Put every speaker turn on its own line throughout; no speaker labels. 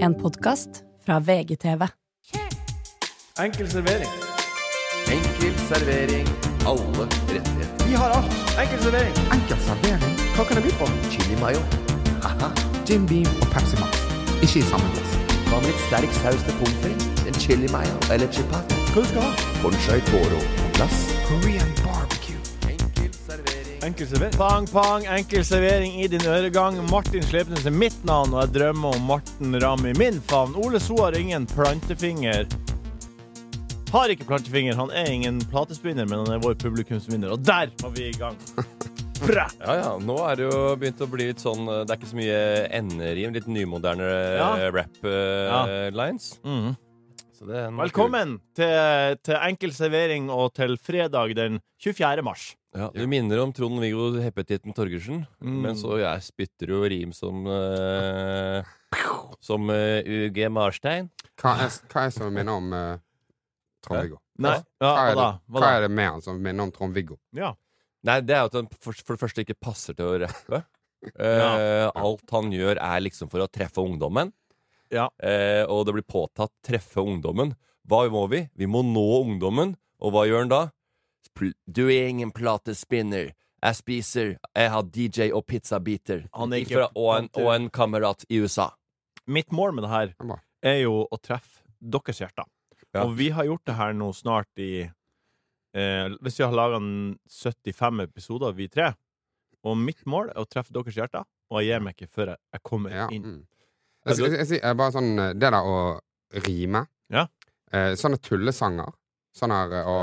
En podkast fra VGTV.
Enkel servering.
Enkel servering. Alle rettigheter.
Vi har alt. Enkel servering.
Enkel servering,
Hva kan det by på?
Chili mayo. Haha.
Jim Beam og Pepsi Max. Ikke i samme glass.
Hva med litt sterk saus til pommes frites? En chili mayo eller chipat?
Hva du skal ha?
Conchai toro på glass.
Korean barbecue.
Enkel servering.
Enkel servering. Pang, pang, enkel servering i din øregang. Martin Slepnes er mitt navn, og jeg drømmer om Morten Ramm i min favn. Ole So har ingen plantefinger. Har ikke plantefinger. Han er ingen platespinner, men han er vår publikumsvinner. Og der var vi i gang! Bra!
Ja, ja. Nå er det jo begynt å bli litt sånn eh, Det er ikke så mye enderim. Litt nymoderne eh,
Ja. Ja.
rap-lines.
Mhm.
Så det er nok
Velkommen til, til enkel servering og til fredag den 24. mars.
kult. Ja, du minner om Trond-Viggo Heppetitten Torgersen.
Mm.
Men så jeg spytter jo rim som eh, Som eh, UG Marstein.
Hva er, hva er det som minner om eh, Trond-Viggo?
Nei, ja,
Hva,
hva
er
da?
det-
Hva
hva
da?
er det med han som minner om Trond-Viggo?
Ja.
Nei, det er jo at han for, for det første ikke passer til å rappe. Eh,
Ja.
alt han gjør, er liksom for å treffe ungdommen.
Ja.
Eh, og det blir påtatt 'treffe ungdommen'. Hva må vi? Vi må nå ungdommen. Og hva gjør han da? Pl- Du er ingen platespinner. Jeg spiser. Jeg har DJ og pizzabiter.
Han er ikke-
Fra- og, en, og en kamerat i USA.
Mitt mål med det her
Hva?
er jo å treffe deres hjerter.
Ja.
Og vi har gjort det her nå snart i eh, Hvis vi har laga 75 episoder, vi tre, og mitt mål er å treffe deres hjerter, og jeg gir meg ikke før jeg, jeg kommer
Ja.
inn.
Mm. Jeg, jeg, jeg, sier, eh, bare sånn eh, Det der å rime.
Ja.
Eh, sånne tullesanger. Sånn her eh, å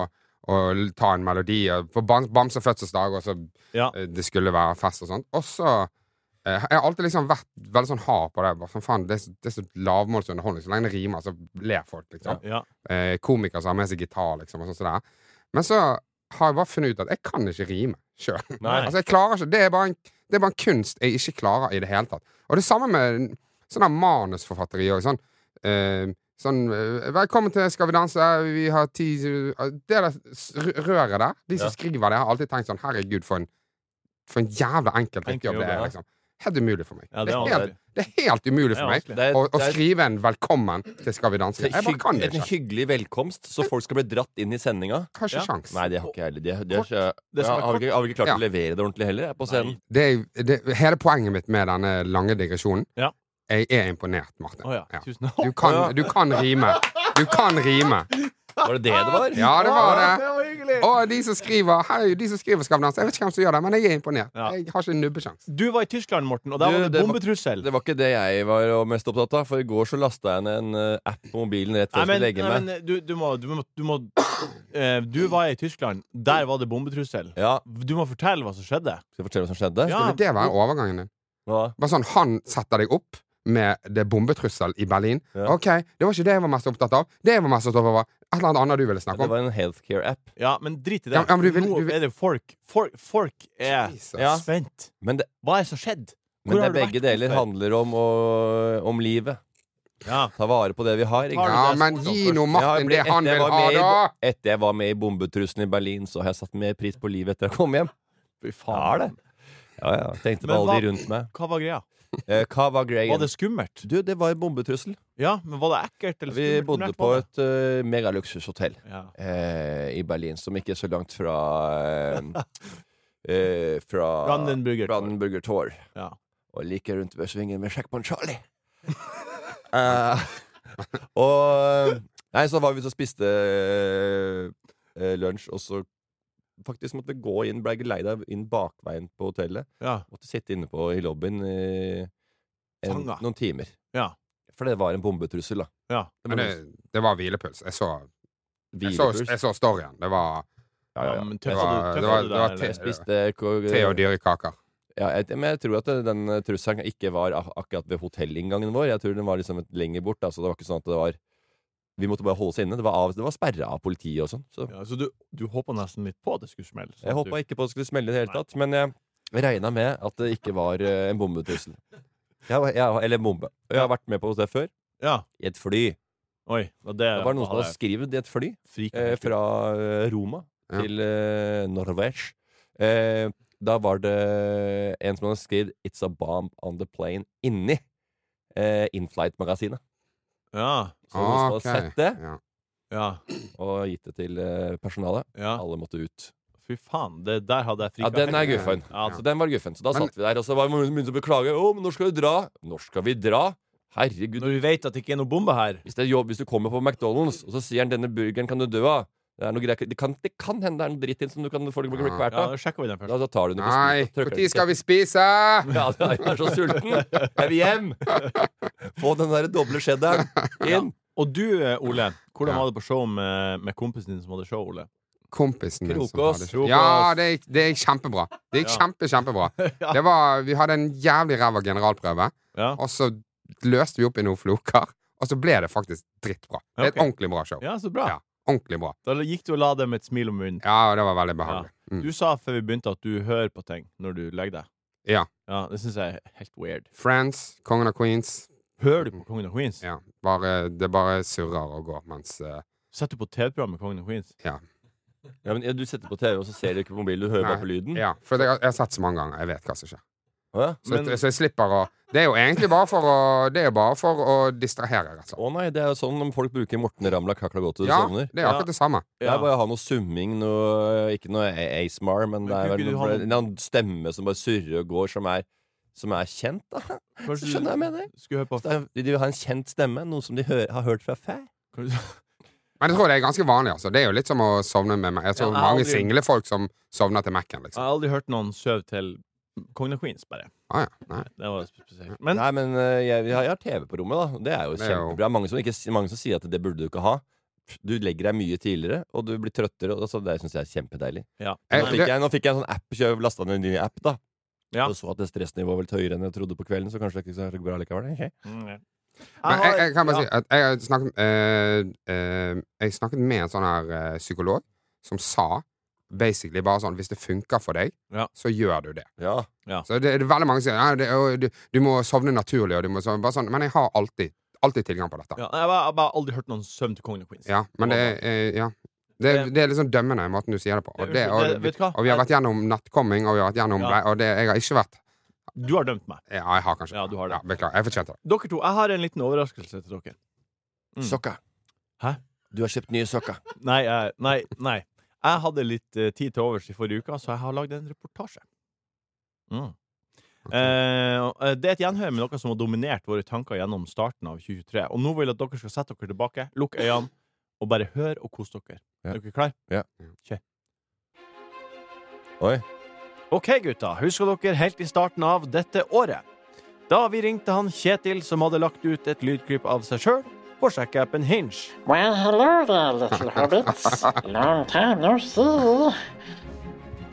å l- ta en melodi og For Bam- Bamse fødselsdag, og så
Ja.
eh, det skulle være fest og sånt. Og så eh, Jeg har alltid liksom vært veldig sånn hard på det. Bare sånn, faen, det er så, det er så lavmålsunderholdning. Så lenge det rimer, så ler folk, liksom.
Ja.
eh, komikere som har med seg gitar, liksom. Og sånn som det er. Men så har jeg bare funnet ut at jeg kan ikke rime sjøl.
Nei.
Altså, jeg klarer ikke. Det er, bare en, det er bare en kunst jeg ikke klarer i det hele tatt. Og det samme med sånn her manusforfatteri og sånn. eh, sånn eh, 'Velkommen til Skal vi danse', vi har ti Det der s- r- røret der, de som
Ja.
skriver det, har alltid tenkt sånn 'Herregud, for en, for en jævla enkel drittjobb
jobb,
det er',
ja.
liksom. Helt umulig for meg.
Ja,
det,
det er
er helt, det er helt umulig
Det er
for meg
vanskelig.
er-
å, å
det er-
skrive en 'Velkommen til Skal vi danse'.
det
Jeg
er
bare
hygg-
kan det
en
ikke.
hyggelig velkomst, så folk skal bli dratt inn i sendinga.
Har ikke
Ja.
sjans.
Nei, det har ikke jeg heller. De, de,
Kort.
har ikke-
Det som er
ja, har, vi ikke- har vi ikke klart
Ja.
å levere det ordentlig heller jeg, på scenen.
det er, det, hele poenget mitt med denne lange digresjonen
Ja.
Jeg er imponert, Martin.
Å ja.
Ja.
Tusen takk.
Du, kan,
Å ja.
du kan rime. Du kan rime.
Var det det det var?
Ja, det var
Å,
det.
var hyggelig.
Og de som skriver Hei, de som skriver Skavlan. Jeg vet ikke hvem som gjør det, men jeg er imponert.
Ja.
Jeg har ikke en nubbesjanse.
Du var i Tyskland, Morten, og der
Du,
var det
det var-
bombetrussel.
Det var ikke det jeg var eh, mest opptatt av, for i går så lasta jeg ned en eh, app på mobilen rett før
Nei, men, nei,
jeg skulle legge meg.
men eh, du, du må, du må, du, må eh, du var i Tyskland. Der var det bombetrussel.
Ja,
Du må fortelle hva som skjedde.
Skal jeg fortelle hva som skjedde?
Ja.
Skulle det være overgangen din?
Hva?
Bare sånn, Han setter deg opp med det bombetrussel i Berlin.
Ja.
OK, det var ikke det jeg var mest opptatt av. Det jeg var mest opptatt av, var et eller annet annet du ville snakke
Det
om.
var en healthcare-app.
Ja, men drit i det.
Ja, ja, men du vil-
Nå
du vil-
er det folk. Folk, folk er
Jesus.
Ja.
spent.
Men det,
Hva er det som skjedde? Hvor
men det
har
er
du vært?
begge deler
Hvorfor?
handler om, å, om livet.
Ja.
Ta vare på det vi har. Ikke?
Har
Ja,
det
men
som-
gi nå
Jeg har
Martin
blitt-
det han
etter jeg
vil
var
ha,
med i
da!
bo- Etter jeg var med i bombetrusselen i Berlin, så har jeg satt mer pris på livet etter jeg kom hjem.
Fy
Ja,
faen.
det. ja, ja. Tenkte på
Men
alle
hva-
de rundt meg.
Hva var greia?
Eh, hva var
Var
greien?
det skummelt?
Du, det var en bombetrussel.
Ja, men var det ekkelt? Eller
Vi
skummelt?
bodde
Hvordan
på
var det?
et eh, megaluksushotell.
ja.
eh, i Berlin, som ikke er så langt fra eh, eh, Fra
Brandenburger Tor.
Brandenburger Tor.
Ja.
Og like rundt ved svingen med Sjakkbånd Charlie. Eh, og Nei, så var vi ute og spiste eh, lunsj, og så faktisk måtte vi gå inn, ble jeg lei deg, inn bakveien på hotellet.
ja.
Måtte sitte inne på i lobbyen i en,
Tanga.
noen timer.
Ja.
For det var en bombetrussel, da.
ja.
Men det, det var hvilepuls. Jeg så, jeg så,
Hvilepuls.
jeg så storyen. Det var
Ja, ja, ja.
men
Det
tøffa
var-
du,
det
tøffa
var-
du
det
deg,
var
eller?
tøft.
Spiste ko-
te og dyre kaker.
Ja, jeg, men jeg tror at den eh, trusselen ikke var ak- akkurat ved hotellinngangen vår. Jeg tror den var liksom et lenger bort. Da, så det var ikke sånn at det var Vi måtte bare holde oss inne. Det var, av- det var sperra av politiet og sånn. Så
Ja, så du, du håpa nesten litt på at det skulle smelle? sånn
jeg
at du-
håpa ikke på at det skulle smelle i det hele tatt. Men jeg regna med at det ikke var eh, en bombetrussel. Jeg, var- jeg, eller en bombe. Og Jeg har vært med på det før.
Ja.
I et fly.
Oi. var Det,
Det var noen som hadde skrevet i et fly eh,
skriket
fra eh, Roma
Ja.
til eh, Norvège. Eh, da var det en som hadde skrevet 'It's a bomb on the plane' inni eh, Inflight-magasinet.
Ja.
Så noen som hadde
Ok.
sett det,
Ja.
Ja.
og gitt det til eh, personalet.
ja.
Alle måtte ut.
Fy faen, det der hadde jeg
Ja,
frika
den er
helt.
guffen.
Ja.
Så den var guffen. Så da
altså, Men-
satt vi der, og så var det noen som beklaget. Å, men når skal du dra? Når skal vi dra? Herregud.
Når vi vet at det ikke er noe bombe her
Hvis, det er jobb, hvis du kommer på McDonald's, og så sier han 'denne burgeren kan du dø av', det, er noe greier, det, kan, det kan hende det er noe dritt i den som du kan få bli bli
Ja.
kvert
Ja,
av.
da sjekker vi den først.
Da, da tar du den på snusen
Nei,
og trykker
når
den.
skal vi spise?
Ja, jeg er så sulten. Jeg vil hjem! Få den der doble cheddaren inn.
Og du, eh, Ole, hvordan
Ja.
var det på show med, med kompisen din som hadde show, Ole?
Kompisen min som
Krokås,
hadde det.
krokås.
Ja, det gikk, det gikk kjempebra. Det gikk
Ja.
kjempe, kjempebra. Det var, vi hadde en jævlig ræva generalprøve,
Ja.
og så løste vi opp i noen floker, og så ble det faktisk drittbra. Det er et
Ok.
ordentlig bra show.
Ja, så bra.
Ja. Ordentlig bra.
Da gikk du og la dem et smil om munnen.
Ja, og det var veldig behagelig. Mm.
Du sa før vi begynte at du hører på ting når du legger deg.
Ja.
Ja, Det syns jeg er helt weird.
Friends, Kongen av Queens.
Hører du på Kongen av Queens?
Mm. Ja, bare, det bare surrer og går, mens eh,
Setter du på TV-program med Kongen av Queens?
Ja, men ja, du setter på TV, og så ser du ikke på mobilen. Du hører bare
Nei.
på lyden.
Ja, for jeg, jeg har sett så mange ganger. Jeg vet hva som skjer.
Å, ja.
Så, jeg-
Men-
så jeg slipper å Det er jo egentlig bare for å Det er jo bare for å distrahere, rett og slett.
Å nei, det er jo sånn om folk bruker Morten Ramla kakla godt til du
Ja,
sovner.
det er akkurat det samme.
Det er bare å ha noe summing, noe, ikke noe A- ASMR,
Men
men, det er
kunne
vel
ikke du
noe,
ha
en
noe-
eller annen stemme som bare surrer og går, som er, som er kjent, da.
Kanskje
Skjønner jeg
du
mener.
Skulle høre på
Det er- De vil ha en kjent stemme, noe som de hø har hørt fra før.
Kanskje-
Men jeg tror det er ganske vanlig. altså Det er jo litt som å sovne med meg. Jeg
Ja, jeg
tror
har
mange
aldri-
single folk som sovner til Mac-en,
Jeg
liksom.
har aldri hørt noen søv til Kongen av Queens, bare.
Ah, ja. Nei.
Det var spesielt. Men
Nei, men eh, jeg, jeg, har, jeg har TV på rommet, da. Det er jo
Det er jo-
kjempebra. Mange, som ikke, mange som sier at det burde du ikke ha. Du legger deg mye tidligere, og du blir trøttere. Og, altså, det syns jeg er kjempedeilig.
ja.
Eh,
Nå
Nei,
fikk, jeg, nå fikk jeg en sånn app, kjøp lasta ned en ny app, da.
Ja.
Og så at det stressnivået var litt høyere enn jeg trodde på kvelden, så kanskje det ikke er så bra likevel. Ok.
mm, ja.
Men jeg, jeg kan bare
ja.
si at jeg har snakket, eh, eh, jeg snakket med en sånn her eh, psykolog som sa basically bare sånn Hvis det funker for deg,
Ja.
så gjør du det.
Ja.
Så det, det er veldig mange som sier «Nei, det, er jo- du, du må sovne naturlig, og du må sovne bare sånn. Men jeg har alltid, alltid tilgang på dette.
Ja, jeg har bare- jeg har bare aldri hørt noen søvn til Kongen av Queens.
Ja, men det er, eh, ja. det, er- det er liksom dømmende i måten du sier det på. Og, det,
Unnskyld,
og,
det- vet du hva?
og vi har vært gjennom nattkomming, og vi har vært gjennom
Ja.
blei, Og det, jeg har ikke vært
Du har dømt meg.
Ja, jeg har kanskje
Ja, du har det.
Beklager. Jeg fortjente det.
Dere to, jeg har en liten overraskelse til dere. Mm.
Sokker.
Hæ?
Du har kjøpt nye sokker.
Nei, jeg- nei, nei. Jeg hadde litt eh, tid til overs i forrige uke, så jeg har lagd en reportasje. Mm. Eh, og, eh, det er et gjenhør med noe som har dominert våre tanker gjennom starten av 2023. Og nå vil jeg at dere skal sette dere tilbake, lukke øynene, og bare høre og kose dere.
Ja.
Er dere klare?
Oi.
Ok, gutta. Husker dere helt i starten av dette året? Da vi ringte han Kjetil, som hadde lagt ut et lydklipp av seg sjøl på sjekkeappen Hinge.
Well, hello there, little hobbits. Long time no see.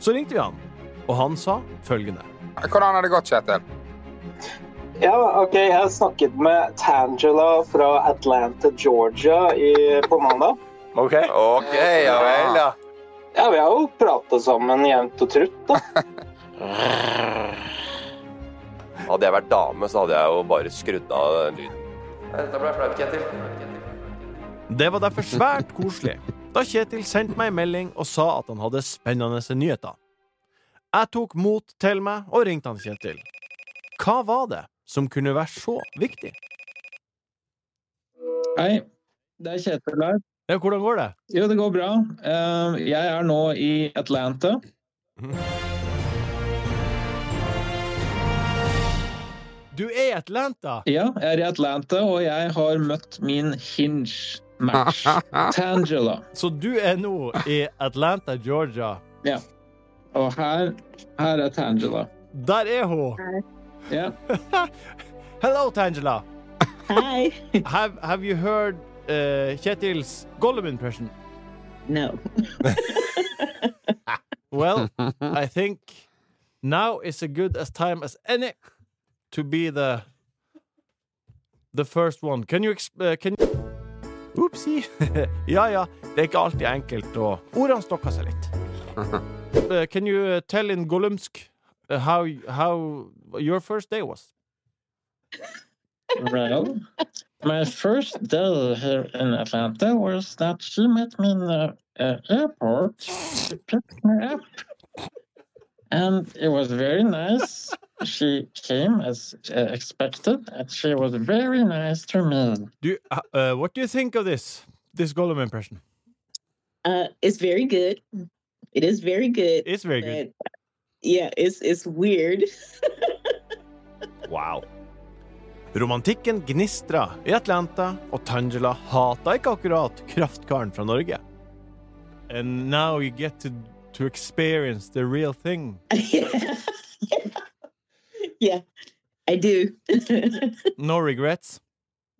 Så ringte vi han, og han sa følgende.
Hvordan har det gått, Kjetil?
Ja, ok. Jeg snakket med Tangela fra Atlanta, Georgia i, på mandag.
Ok, ja vel, ja.
Ja, vi har jo pratet sammen jevnt og trutt, da.
Hadde jeg vært dame, så hadde jeg jo bare skrudd av den lyden. Dette ble flaut, Ketil.
Det var derfor svært koselig da Kjetil sendte meg en melding og sa at han hadde spennende nyheter. Jeg tok mot til meg og ringte han Kjetil. Hva var det som kunne være så viktig?
Hei, det er Kjetil her.
Ja, hvordan går det?
Jo, det går bra. Eh, Jeg er nå i Atlanta.
Du er i Atlanta!
Ja, jeg er i Atlanta, og jeg har møtt min hinge-match. Tangela.
Så du er nå i Atlanta, Georgia.
Og her, her er Tangela.
Der er hun!
Ja.
Hello, Tangela!
Hi.
Have, have you heard uh, Kjetil's Gollum impression?
No.
Well, I think now is a good as time as any to be the the first one. Can you exp... Uh, can Oopsie. ja, ja. Det er ikke alltid enkelt, og ordene stokker seg litt. Uh, can you uh, tell in Gollumsk uh, how, how your first day was?
Well, my first day here in Atlanta was that she met me in the uh, airport. She picked me up. And it was very nice. She came as uh, expected, and she was very nice to me.
Do you, uh, uh, what do you think of this? This Gollum impression.
Uh, it's very good. It is very good.
It's very good.
but- Yeah, it's it's weird.
Wow. Romantikken gnistra i Atlanta, og Tangela hata ikke akkurat kraftkaren fra Norge. And now you get to, to experience the real thing.
yeah. I do.
No regrets.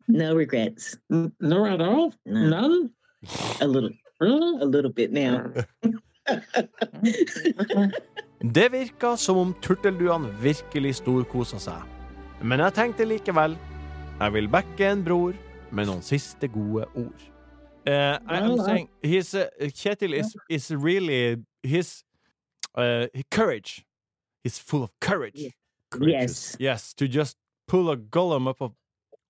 no regrets.
N- No, at all?
No.
None?
A little,
Really?
a little bit now.
Det virka som om turtelduene virkelig storkosa seg. Men jeg tenkte likevel Jeg vil backe en bror med noen siste gode ord. Eh, I am
Well, I-
saying his, uh, Kjetil is, is really his uh, courage. He's full of courage.
yes.
Yes, to just pull a golem up of,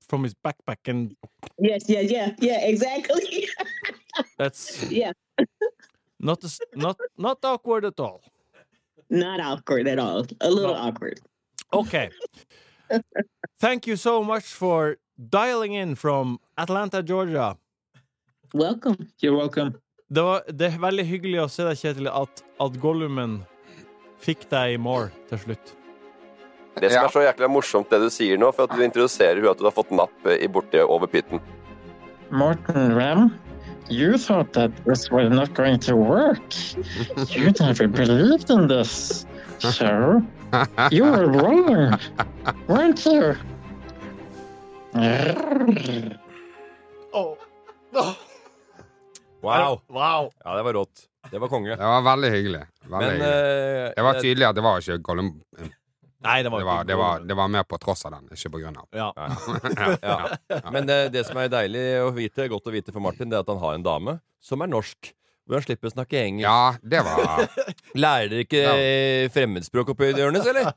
from his backpack and
Yes. Yeah. Yeah. Yeah. Exactly.
that's
Yeah.
not as- not not awkward at all.
Not awkward at all. A little
No.
awkward.
Okay. Thank you so much for dialing in from Atlanta, Georgia.
Welcome.
You're welcome.
Det, var, det er veldig hyggelig å se deg, Kjetil, at, at Gollumen fikk deg i mål til slutt.
Det som
Ja.
er så jækla morsomt, det du sier nå, for at du introduserer hun at du har fått napp eh, i borti over pytten.
Morton Ram, you thought that this was not going to work. You never believed in this. So, you were wrong, weren't you?
Wow.
Wow.
Ja, det var rått. Det var konge.
Det var veldig hyggelig. Veldig
Men
hyggelig.
eh,
Det var tydelig at det var ikke Gollum.
Nei, det var
Det var, det var, det var mer på tross av den, ikke på grunn av.
Ja.
Nei.
Ja.
Ja. Men eh, det som er deilig å vite, godt å vite for Martin, det er at han har en dame som er norsk. Hvor han slipper å snakke engelsk.
ja, det var
Lærer dere ikke
Ja.
eh, fremmedspråk oppi hjørnet, eller?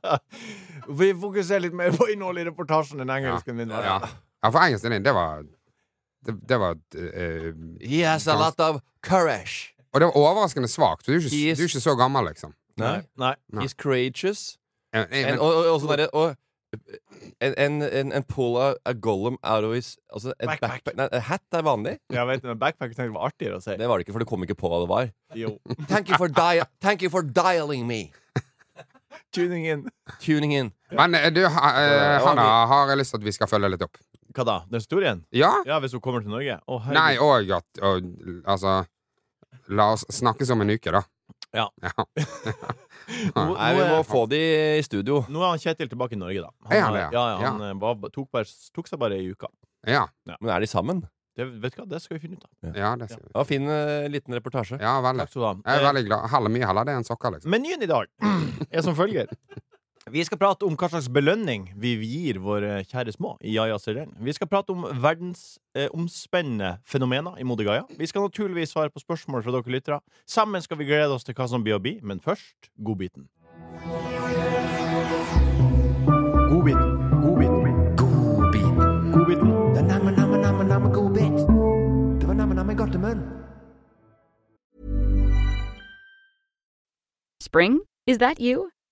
Vi fokuserer litt mer på innholdet i reportasjen enn engelsken din.
Ja, ja for engelsken din, det var Det, det var eh,
He has a lot of courage.
Og det var overraskende svakt. for Du, er ikke-
He is-
du er ikke så gammel, liksom.
Nei.
Nei.
He's courageous.
Eh, eh,
En,
men-
og, og, og sånn derre og- en, en, en, en pull a, a golem out of his altså, et
Backpack.
backpack. Nei, en hat er vanlig.
Jeg vet, men backpack tenkte jeg var artigere å si.
Det var det ikke, for du kom ikke på hva det var.
Jo.
Thank you for, dia thank you for dialing me.
Tuning in.
Tuning in.
Men eh, du, ha, eh,
Så-
Hanna, har jeg lyst til at vi skal følge litt opp.
Hva da? Den store igjen?
Ja?
Ja, hvis hun kommer til Norge? Å, herregud.
Nei, og at og, Altså La oss snakkes om en uke, da.
Ja.
Nå-
Nei, vi må få de i studio.
Nå er han Kjetil tilbake i Norge, da.
Er han det,
ja?
ja?
Ja, han eh, Var, tok, bare, tok seg bare ei uke.
Ja,
Men er de sammen?
Det, vet du hva, det skal vi finne ut av.
ja det sier vi.
Det var fin eh, liten reportasje.
Ja, veldig.
Takk skal du ha.
Jeg er
Eh,
veldig glad. Heller mye heller det enn sokker, liksom.
Menyen i dag er som følger. Vi skal prate om hva slags belønning vi gir våre kjære små i Jaja-serien. Vi skal prate om verdensomspennende eh, omspennende fenomener i Modigaya. Vi skal naturligvis svare på spørsmål fra dere lyttere. Sammen skal vi glede oss til hva som blir å bli, men først godbiten. Godbiten. Godbiten. Godbiten.
Spring? Is that you?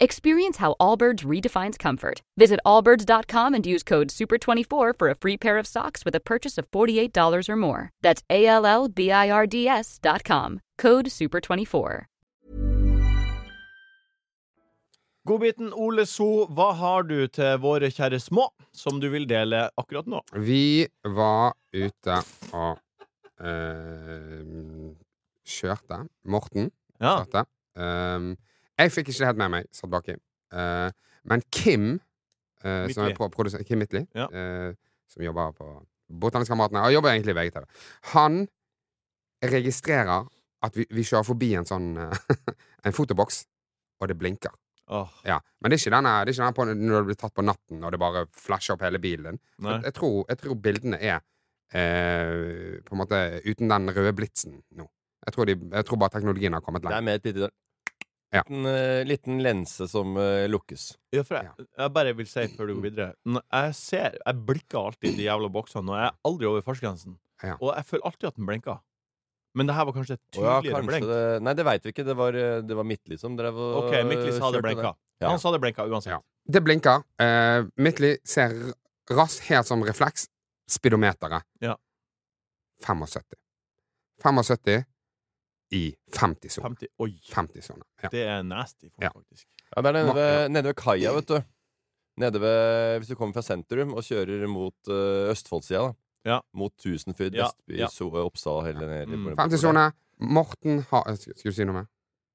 Experience how Allbirds redefines comfort. Visit allbirds.com and use code SUPER24 for a free pair of socks with a purchase of $48 or more. That's A L L B I R D S dot com. Code SUPER24.
Godbiten, Ole So, hva har du til våre kjære små som du vil dele akkurat nå?
Vi var ute og eh, kjørte. Morten
Ja,
kjørte. Um, jeg fikk ikke det helt med meg, satt baki. Eh, men Kim, eh, som
Midtly.
er pro- produsent Kim Midtly,
Ja.
eh, som jobber på Botanistkameratene, og jobber egentlig i VGTV, han registrerer at vi, vi kjører forbi en sånn eh, En fotoboks, og det blinker.
Åh.
Ja. Men det er ikke denne, det er ikke denne på, når du blir tatt på natten og det bare flasher opp hele bilen din. For
Nei.
Jeg tror, jeg tror bildene er eh, på en måte uten den røde blitsen nå. Jeg tror, de, jeg tror bare teknologien har kommet
Det er
langt.
med et lite
Ja.
liten, eh, liten lense som eh, lukkes.
Ja, for jeg, jeg bare vil si før du går videre Når Jeg ser, jeg blikker alltid de jævla boksene, og jeg er aldri over fartsgrensen.
Ja.
Og jeg føler alltid at den blinker. Men det her var kanskje et
Å ja,
tydeligere
kanskje
blink.
det, Nei, det veit vi ikke. Det var, eh, det var Midtly som drev og
OK, Miklis hadde
kjørte det.
blinka.
Ja.
Han sa det blinka uansett.
Ja. Det blinker. Eh, Midtly ser raskt helt som refleks. Speedometeret.
Ja.
75. 75 i 50-sonen.
50. Oi,
50-sonen. Ja.
det er nasty, folk,
Ja.
faktisk.
Ja, det er nede
Ma- ja.
ved, nede ved kaia, vet du. Nede ved, hvis du kommer fra sentrum og kjører mot uh, Østfoldsida, da.
Ja.
Mot Tusenfryd,
Ja,
Vestby,
ja.
so Oppsal, hele ned
Mm.
50-sonen. Morten har Skulle du si noe mer?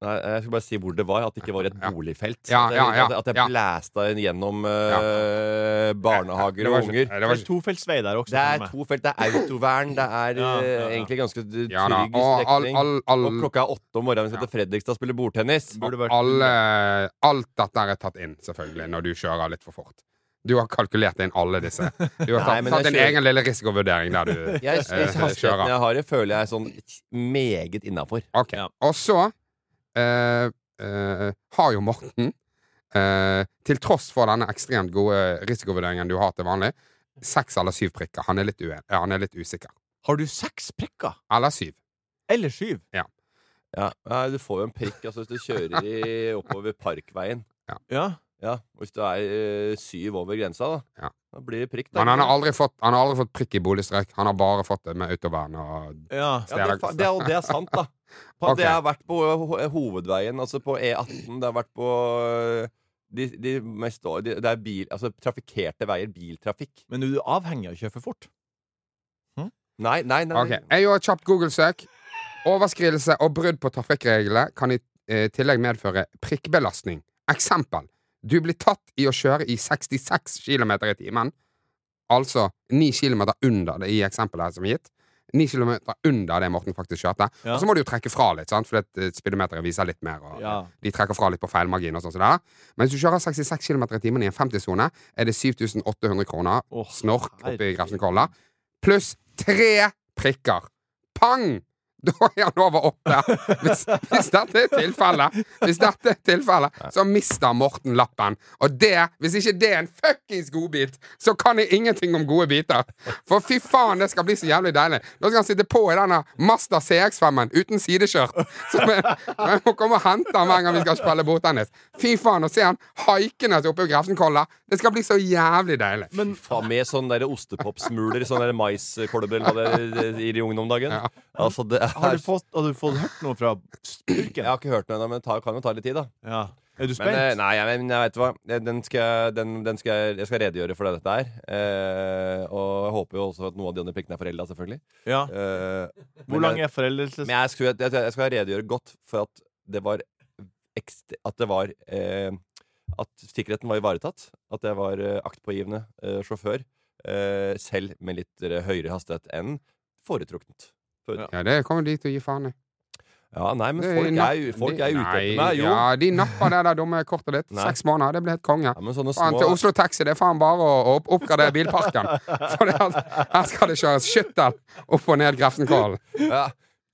Nei, jeg skulle bare si hvor det var. At det ikke var et
Ja.
boligfelt.
Ja,
at jeg,
ja, ja,
At, at jeg
ja.
blæsta inn gjennom eh, barnehager
Det var
og
ikke-
unger.
Det var
Det er
ikke
tofeltsvei der også.
Det
for
er
meg.
to felt. Det er autovern. Det er
Ja,
eh,
ja, ja.
egentlig ganske d- trygg
Ja da. Og all,
strekning.
all, all,
og klokka er åtte om morgenen. Vi skal til Fredrikstad og spille bordtennis.
Burde vært
alle, alt dette er tatt inn, selvfølgelig, når du kjører litt for fort. Du har kalkulert inn alle disse. Du
Nei,
har tatt,
men
tatt
jeg
en
kjører-
egen lille risikovurdering der du
Jeg, jeg,
eh,
hastigheten
kjører.
jeg har, føler jeg er sånn meget innafor.
Ok.
Ja.
Og så eh, eh, har jo Morten, eh, til tross for denne ekstremt gode risikovurderingen du har til vanlig, seks eller syv prikker. Han er litt, uen, ja, han er litt usikker.
Har du seks prikker?
Eller syv.
Eller syv?
Ja. Nei, du får jo en prikk altså, hvis du kjører i, oppover Parkveien.
Ja.
Ja, og Hvis du er eh, syv over grensa, da
Ja.
Da blir det prikk. Da.
Men han har aldri fått, han har aldri fått prikk i boligstrek. Han har bare fått det med autovern og
ja.
ja, det, er fa- det, er- og det er sant, da. På,
Ok.
Det har vært på ho- hovedveien, altså på E18. Det har vært på eh, de, de mest de, Det er bil, altså trafikkerte veier. Biltrafikk.
Men er du avhengig av å kjøre for fort?
Nei, nei, nei.
Ok, Jeg gjorde et kjapt Google-søk. Overskridelse og brudd på trafikkreglene kan i eh, tillegg medføre prikkbelastning. Eksempel. Du blir tatt i å kjøre i 66 km i timen, altså 9 km under det i eksempelet her som er gitt. 9 km under det Morten faktisk kjørte.
Ja.
Og så må du jo trekke fra litt, sant? for speedometeret viser litt mer. Og,
Ja.
De trekker fra litt på feilmargin. og sånn som det er. Men hvis du kjører 66 km i timen i en 50-sone, er det 7800 kroner
Åh,
snork oppe i
herregud.
Grefsenkolla. Pluss tre prikker. Pang! Da er han over åtte. Hvis, hvis dette er tilfellet, Hvis dette er tilfellet, så mister Morten lappen. Og det, hvis ikke det er en fuckings godbit, så kan jeg ingenting om gode biter. For fy faen, det skal bli så jævlig deilig. Nå skal han sitte på i denne Mazda CX-5-en uten sideskjørt. Så jeg, jeg må komme og hente han hver gang vi skal spille bordtennis. Fy faen, å se han haikende til oppe i Grefsenkolla. Det skal bli så jævlig deilig.
Men faen, med sånne der ostepopsmuler i sånne der maiskolber eller hva det er eh, i jungen om dagen.
Ja.
Altså, det er
Har du fått, har du fått hørt noe fra
Jeg
skurken?
har ikke hørt den ennå, men det tar- kan jo ta litt tid, da.
Ja. Er du
Men,
spent?
eh, nei, jeg, men jeg vet hva. Eh, Den skal, jeg- den, den skal, jeg- jeg skal redegjøre for det dette er. Eh, og jeg håper jo også at noen av de andre prikkene er forelda, selvfølgelig.
ja.
Eh,
Hvor lang er foreldelses...
Men jeg, skulle, jeg, jeg skal redegjøre godt for at det var ekst- At det var eh, At sikkerheten var ivaretatt. At jeg var eh, aktpågivende eh, sjåfør. Eh, selv med litt eh, høyere hastighet enn foretrukket.
Ja, det kommer de til å gi faen i.
Ja, nei, men
Det er
folk er,
napp-
jo- folk er ute
Nei,
etter meg, jo.
Ja, de napper det der dumme kortet ditt.
Nei.
Seks måneder, det blir helt konge.
Ja, men sånne
Faen, til
små
Oslo Taxi, det er faen bare å å opp- oppgradere bilparken. For det, at her skal det kjøres skyttel opp og ned Grefsenkollen.
ja,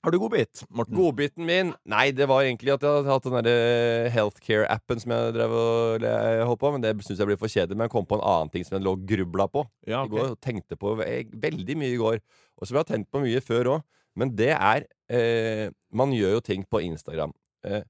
Har du godbit, Morten?
Godbiten min Nei, det var egentlig at jeg hadde hatt den der eh, healthcare-appen som jeg drev og le- holdt på, men det syns jeg blir for kjedelig. Men jeg kom på en annen ting som jeg lå og grubla på
Ja,
i går.
ok.
Og tenkte på ve- veldig mye i går. Og som jeg har tenkt på mye før òg. Men det er eh, Man gjør jo ting på Instagram. Eh,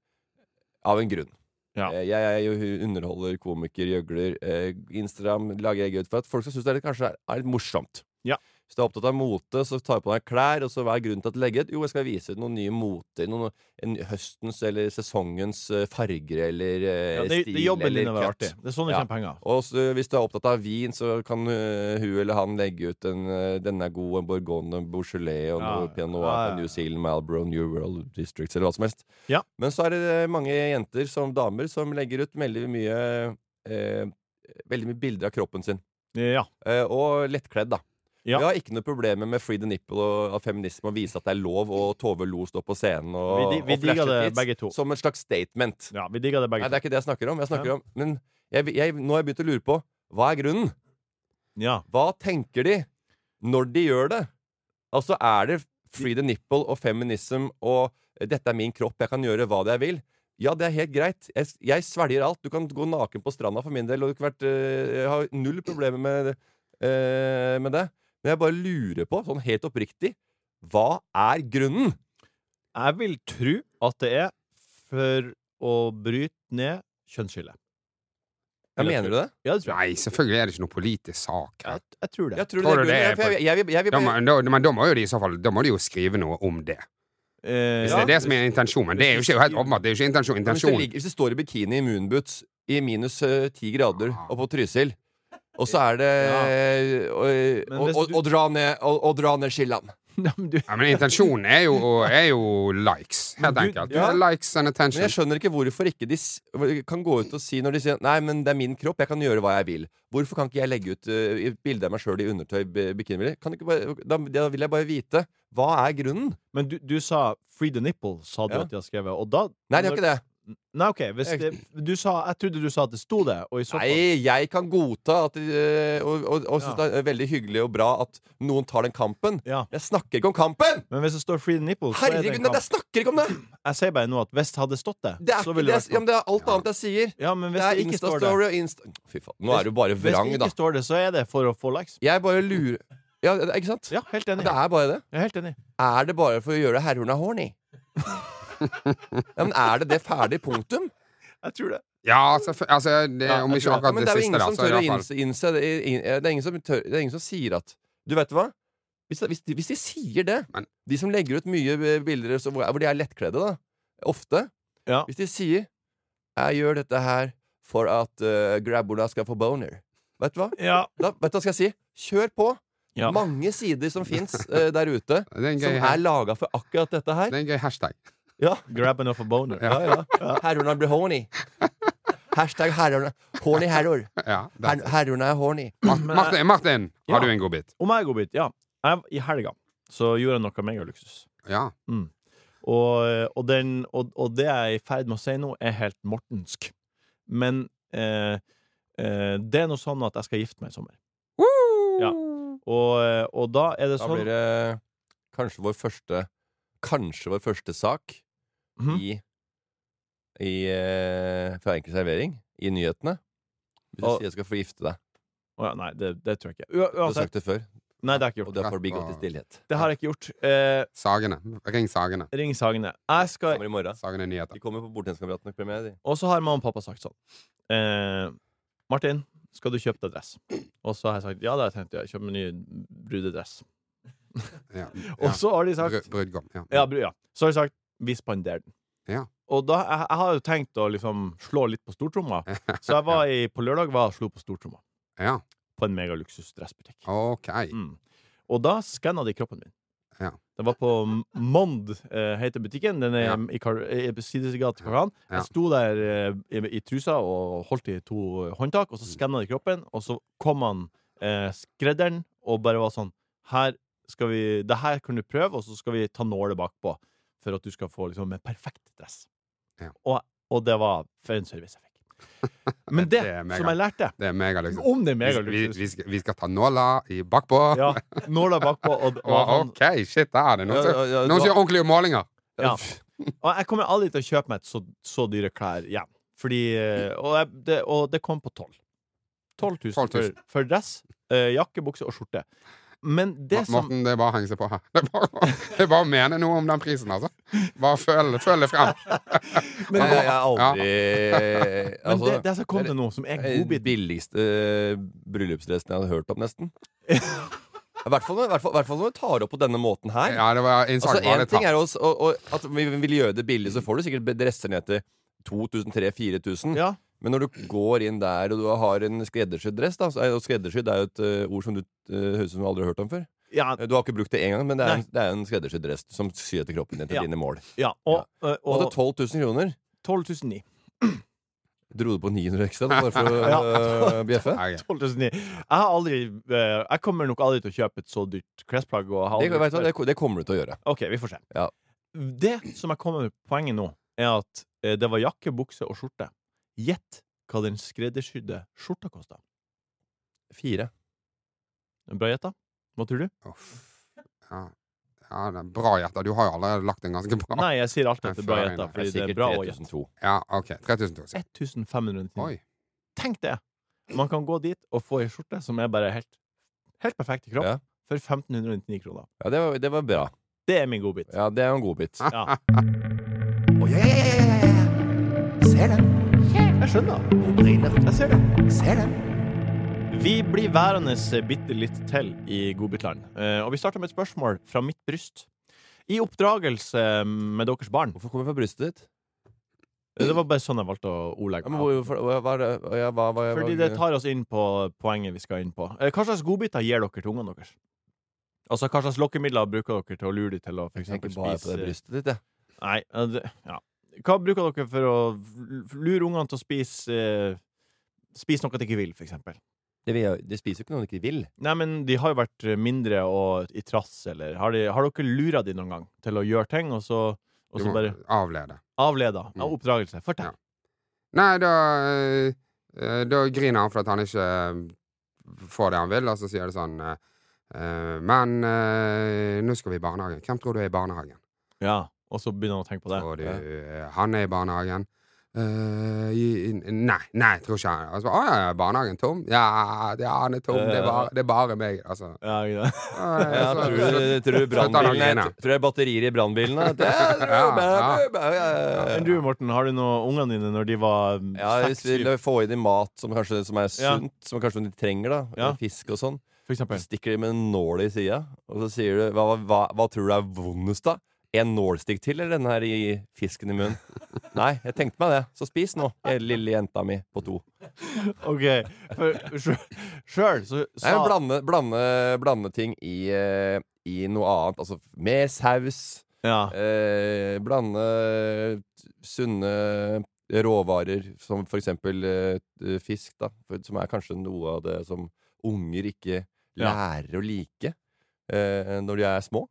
av en grunn.
Ja.
Eh, Jeg, er jo underholder, komiker, gjøgler. Eh, Instagram lager jeg gøy ut for at folk skal synes det er litt, kanskje er- er litt morsomt.
Ja.
Hvis du er opptatt av mote, så tar jeg på deg klær, og så hva er grunnen til at du legger ut? Jo, jeg skal vise ut noen nye moter. Noen, en, høstens eller sesongens eh, farger eller eh,
Ja, det,
stil.
det jobber
eller
litt over
cut.
artig. Det er sånn du
Ja.
tjener penger.
Og så, hvis du er opptatt av vin, så kan eh, hun eller han legge ut en eh, 'Denne er god', en Bourgogne, en Beaujolais og
Ja,
noe Pinot Noir
ja, ja.
fra New Zealand, Malboro, New World Districts eller hva som helst.
Ja.
Men så er det eh, mange jenter, som damer, som legger ut veldig mye eh, Veldig mye bilder av kroppen sin.
Ja.
Eh, og lettkledd, da.
Ja.
Vi har ikke noe problemer med free the nipple og, og feminisme og vise at det er lov, og Tove Lo står på scenen og,
Vi di- vi
og flasher
digger det
tits
begge to.
Som et slags statement.
Ja, vi digger det begge
Nei, det er ikke det jeg snakker om. Jeg snakker om Men jeg, jeg, nå har jeg begynt å lure på hva er grunnen?
Ja.
Hva tenker de når de gjør det? Altså, er det free the nipple og feminism og eh, 'dette er min kropp, jeg kan gjøre hva jeg vil'? Ja, det er helt greit. Jeg, jeg svelger alt. Du kan gå naken på stranda for min del. Og det har vært, øh, jeg har null problemer med, øh, med det. Men jeg bare lurer på, sånn helt oppriktig, hva er grunnen?
Jeg vil tro at det er for å bryte ned kjønnsskillet.
Ja, mener du det?
Ja, det tror jeg.
Nei, selvfølgelig er det ikke noe politisk sak her.
Jeg, jeg tror det.
Jeg tror, det
Tror
er
du
grunnen.
det er
Ja, for Jeg, jeg, vil- jeg, vil
Da må,
bare-
da, men da må jo de i så fall Da må de jo skrive noe om det.
Eh,
Hvis det er det som er intensjonen. Det er jo ikke helt åpenbart. Det er jo ikke intensjon.
Ja, Hvis det,
intensjon.
ligger, hvis det står i bikini i moonboots i minus eh, ti grader
Ah.
og på Trysil, og så er det eh,
Men
og,
hvis
og,
du-
og dra ned, og, og dra ned skillene.
Ja, men du,
Ja, men intensjonen er jo, er jo likes, helt
Men du-
enkelt.
ja.
Likes and
Men jeg
attention.
skjønner ikke hvorfor ikke de s- kan gå ut og si når de sier Nei, men det er min kropp, jeg kan gjøre hva jeg vil. Hvorfor kan ikke jeg legge ut eh, et bilde av meg sjøl i undertøy, bi- bikinibilder? Kan du ikke bare, da, da vil jeg bare vite. Hva er grunnen?
men du, du sa 'free the nipple', sa du
Ja.
at de har skrevet. Og da
Nei, det er ikke det.
Nei, OK. Hvis det, du sa, jeg trodde du sa at det sto det, og i så fall
Nei, jeg kan godta at, eh, og, og, og synes
Ja.
det er veldig hyggelig og bra at noen tar den kampen.
Ja.
Jeg snakker ikke om kampen!
Men hvis det står 'free the nipple', så er det
Herregud,
en
nei, jeg
kamp.
snakker ikke om det!
Jeg sier bare nå at hvis det hadde stått det,
Det er,
så
ikke,
ville det
det, er,
vært
ja,
kamp.
men det er alt annet jeg sier.
Ja, men hvis
Det
det,
er
ikke står det
Insta-story og Insta... Fy faen, nå er du bare
Hvis
vrang,
det
da.
ikke står det, så er det for å få likes.
Jeg bare lurer Ja, det- ikke sant?
Ja, helt enig.
Det er bare det.
Jeg er helt enig.
Er det bare for å gjøre herrehorna horny? ja, men er det det ferdig punktum?
Jeg tror det.
Ja, selvfø- altså, det,
Ja,
om
jeg
ikke
tror det.
Ja,
akkurat
men
det
det er jo
siste
ingen
der,
som
så er
tør
det
å
iallfall
innse, innse det, in- det, er ingen som tør, det er ingen som sier at Du vet hva? Hvis, hvis, de, hvis de sier det
Men-
De som legger ut mye eh, bilder så, hvor, hvor de er lettkledde, da. Ofte.
Ja.
Hvis de sier 'Jeg gjør dette her for at uh, grabbola skal få boner'. Vet du hva?
Ja.
Da, vet du hva skal jeg si? Kjør på!
Ja.
Mange sider som fins der ute,
Det er en
som
gøy,
er laga for akkurat dette
det
her.
er en gøy hashtag.
Ja,
Grab enough a boner.
ja, ja. Herrorna blir horny. Hashtag herrorna. Horny herror.
Ja, det er
Her, herrorna er horny.
Mart- Martin, Martin
Ja.
har du en god bit?
Om jeg er godbit, ja. Jeg, I helga så gjorde jeg noe megaluksus.
Ja.
Og, og, den, og, og det jeg er i ferd med å si nå, er helt mortensk. Men eh, eh, det er nå sånn at jeg skal gifte meg i sommer. Ja. Og, eh, og da er det
Da
sånn
blir det kanskje vår første Kanskje vår første sak
Mhm.
i, i eh, Fra enkel servering i nyhetene. Hvis du
Og-
sier jeg skal få gifte deg.
Å ja, Nei, det, det tror jeg ikke. Ua-
Du har
Uansett.
sagt det før,
Nei, det har jeg ikke
og
gjort.
det har forbigått i stillhet.
Det har jeg ikke gjort. Eh,
Sagene. Ring Sagene.
ring Sagene. Jeg skal
Kommer i morgen.
Sagene Nyheter.
De kommer på Bordtenniskameratenes premiere. de.
Og så har mamma og pappa sagt sånn eh, Martin, skal du kjøpe deg dress? Og så har jeg sagt ja, det har jeg tenkt. Ja, kjøp meg ny brudedress.
Ja.
Og så har de sagt
Bru- Brudgom. Ja.
Ja, bru- ja. Så har de sagt vi spanderer den.
Ja.
Og da, jeg, jeg har jo tenkt å liksom slå litt på stortromma, så jeg var i, på lørdag var jeg og slo på stortromma
ja.
på en megaluksusdressbutikk.
OK.
Mm. Og da skanna de kroppen min.
Ja.
Det var på M- Mond, eh, heter butikken. Den er
Ja.
i, Kar- eh, på sidesgata til Karhan.
Ja.
Jeg sto der eh, i, i trusa og holdt i to eh, håndtak, og
Mm.
så skanna de kroppen, og så kom han eh, skredderen og bare var sånn Her skal vi Det her kan du prøve, og så skal vi ta nåler bakpå for at du skal få liksom en perfekt dress.
Ja.
Og, og det var for en service jeg fikk. Men det,
Det er mega.
som jeg lærte
Det er megaluksus.
om det er
Vi,
megaluksus
vi, skal- vi skal ta nåla i bakpå.
ja, nåler bakpå, og, og
Å,
han,
OK, shit, der er det noen
Ja, ja,
som
ja,
noen
du
som gjør
har-
ordentlige målinger.
Ja. Og jeg kommer aldri til å kjøpe meg et så, så dyre klær igjen. Fordi, eh, og, jeg, det, og det kom på 12 12 000,
12 000.
For, for dress, eh, jakke, bukse og skjorte. Men det
Ma- Morten, det er bare å henge seg på her. Det er bare, det er bare å mene noe om den prisen, altså. Bare føl, føl det frem.
som Men,
Jeg jeg
det,
har aldri
men det,
altså,
det som kom til nå, som er
Den
godbit
billigste eh, bryllupsdressen jeg hadde hørt om, nesten. I hvert fall når- i hvert fall- i hvert fall når du tar det opp på denne måten her.
Ja, det var en sak
Altså, en
var litt
ting
hardt.
er å, å, å, at vi vil gjøre det billig, så får du sikkert dresser ned til 2000-4000.
Ja.
Men når du går inn der og du har en skreddersydd dress da, så er- Og skreddersydd er jo et ø, ord som du ø, høres ut som du aldri har hørt om før.
Ja,
Du har ikke brukt det én gang, men det er, en, det er en skreddersydd dress som syr etter kroppen din til
Ja.
dine mål.
ja og,
Og til
og, og
12 000 kroner
12 009.
Dro du på 900 ekstra da, bare for å øh, bjeffe?
12.009. Jeg har aldri eh, Jeg kommer nok aldri til å kjøpe et så dyrt klesplagg. Og har
Det,
aldri-
vet du hva, det, det kommer du til å gjøre.
OK, vi får se.
Ja.
Det som jeg kommer med poenget nå, er at eh, det var jakke, bukse og skjorte. Gjett hva den skreddersydde skjorta kosta.
Fire.
Bra gjetta. Hva tror du?
Uff. Ja. ja, det er bra gjetta. Du har jo allerede lagt en ganske bra.
Nei, jeg sier alltid at det er bra
Fair
gjetta,
enough.
Det er
fordi det er
sikkert
bra å gjette.
3002.
Ja, ok. 3000 sier jeg.
1599.
Oi.
Tenk det! Man kan gå dit og få ei skjorte som er bare helt, helt perfekt i kropp,
Ja.
for 1599 kroner.
Ja, det var, det var bra.
Det er min godbit.
Ja, det er jo en godbit.
Ja.
Å, ja, ja, ja, ja, ja, ja. Ser den.
Jeg skjønner.
Hun brenner.
Jeg ser det.
Ser den.
Vi blir værende bitte litt til i godbitland, Eh, og vi starter med et spørsmål fra mitt bryst. I oppdragelse med deres barn
Hvorfor kommer jeg fra brystet ditt?
Det var bare sånn jeg valgte å ordlegge
Ja, men
meg.
hvorfor, hva, hva, er det- hva, hva, hva, hva
Fordi det tar oss inn på poenget vi skal inn på. Eh, Hva slags godbiter gir dere til ungene deres? Altså, hva slags lokkemidler bruker dere til å lure dem til å for
Jeg tenker
eksempel
bare på
spise
det brystet ditt, jeg.
Nei, ja, det- ja. Hva bruker dere for å l- lure ungene til å spise eh, Spise noe de ikke vil, for eksempel?
Det, vil jeg- det spiser jo ikke noe du ikke vil.
Nei, men de har jo vært eh, mindre og i trass, eller Har, de, har dere lura de noen gang til å gjøre ting, og så, og
Du
så
må
bare
avlede.
avleda
Mm.
av oppdragelse? Fortell.
Ja. Nei, da eh, eh, Da griner han for at han ikke eh, får det han vil, og så sier det sånn eh, eh, Men eh, nå skal vi i barnehagen. Hvem tror du er i barnehagen?
Ja. Og så begynner han å tenke på det.
Tror du eh, han er i barnehagen? Eh, i- i- nei, nei, tror ikke han. Altså, å ja, ja, barnehagen tom? Ja, ja, han er tom. Det er bare, det er bare meg. Altså.
Eh. Ja, ikke sant?
Eh,
Ja,
så-
tror
så-
du, tror du
Slutt å
brannbilene
grine.
Tror du det er batterier i brannbilene? Det er- det er-
Ja, ja.
det er- ja,
Men
ja,
du, Morten, har du noe ungene dine når de var mm,
ja. ja, hvis
seks,
vi
syv,
får i dem mat som kanskje som er
Ja.
sunt, som kanskje de trenger, da.
Ja.
Fisk og sånn.
for
Så
eksempel?
stikker de med en nål i sida, og så sier du hva, hva, hva, hva tror du er vondest, da? En nålstikk til, eller den her i fisken i munnen? Nei, jeg tenkte meg det. Så spis nå, eh, lille jenta mi på to.
OK. For sjøl så
Nei,
sa
men blande, blande, blande ting i, eh, i noe annet. Altså mer saus.
ja.
Eh, blande sunne råvarer, som for eksempel eh, fisk, da, for- som er kanskje noe av det som unger ikke
Ja.
lærer å like eh, når de er små.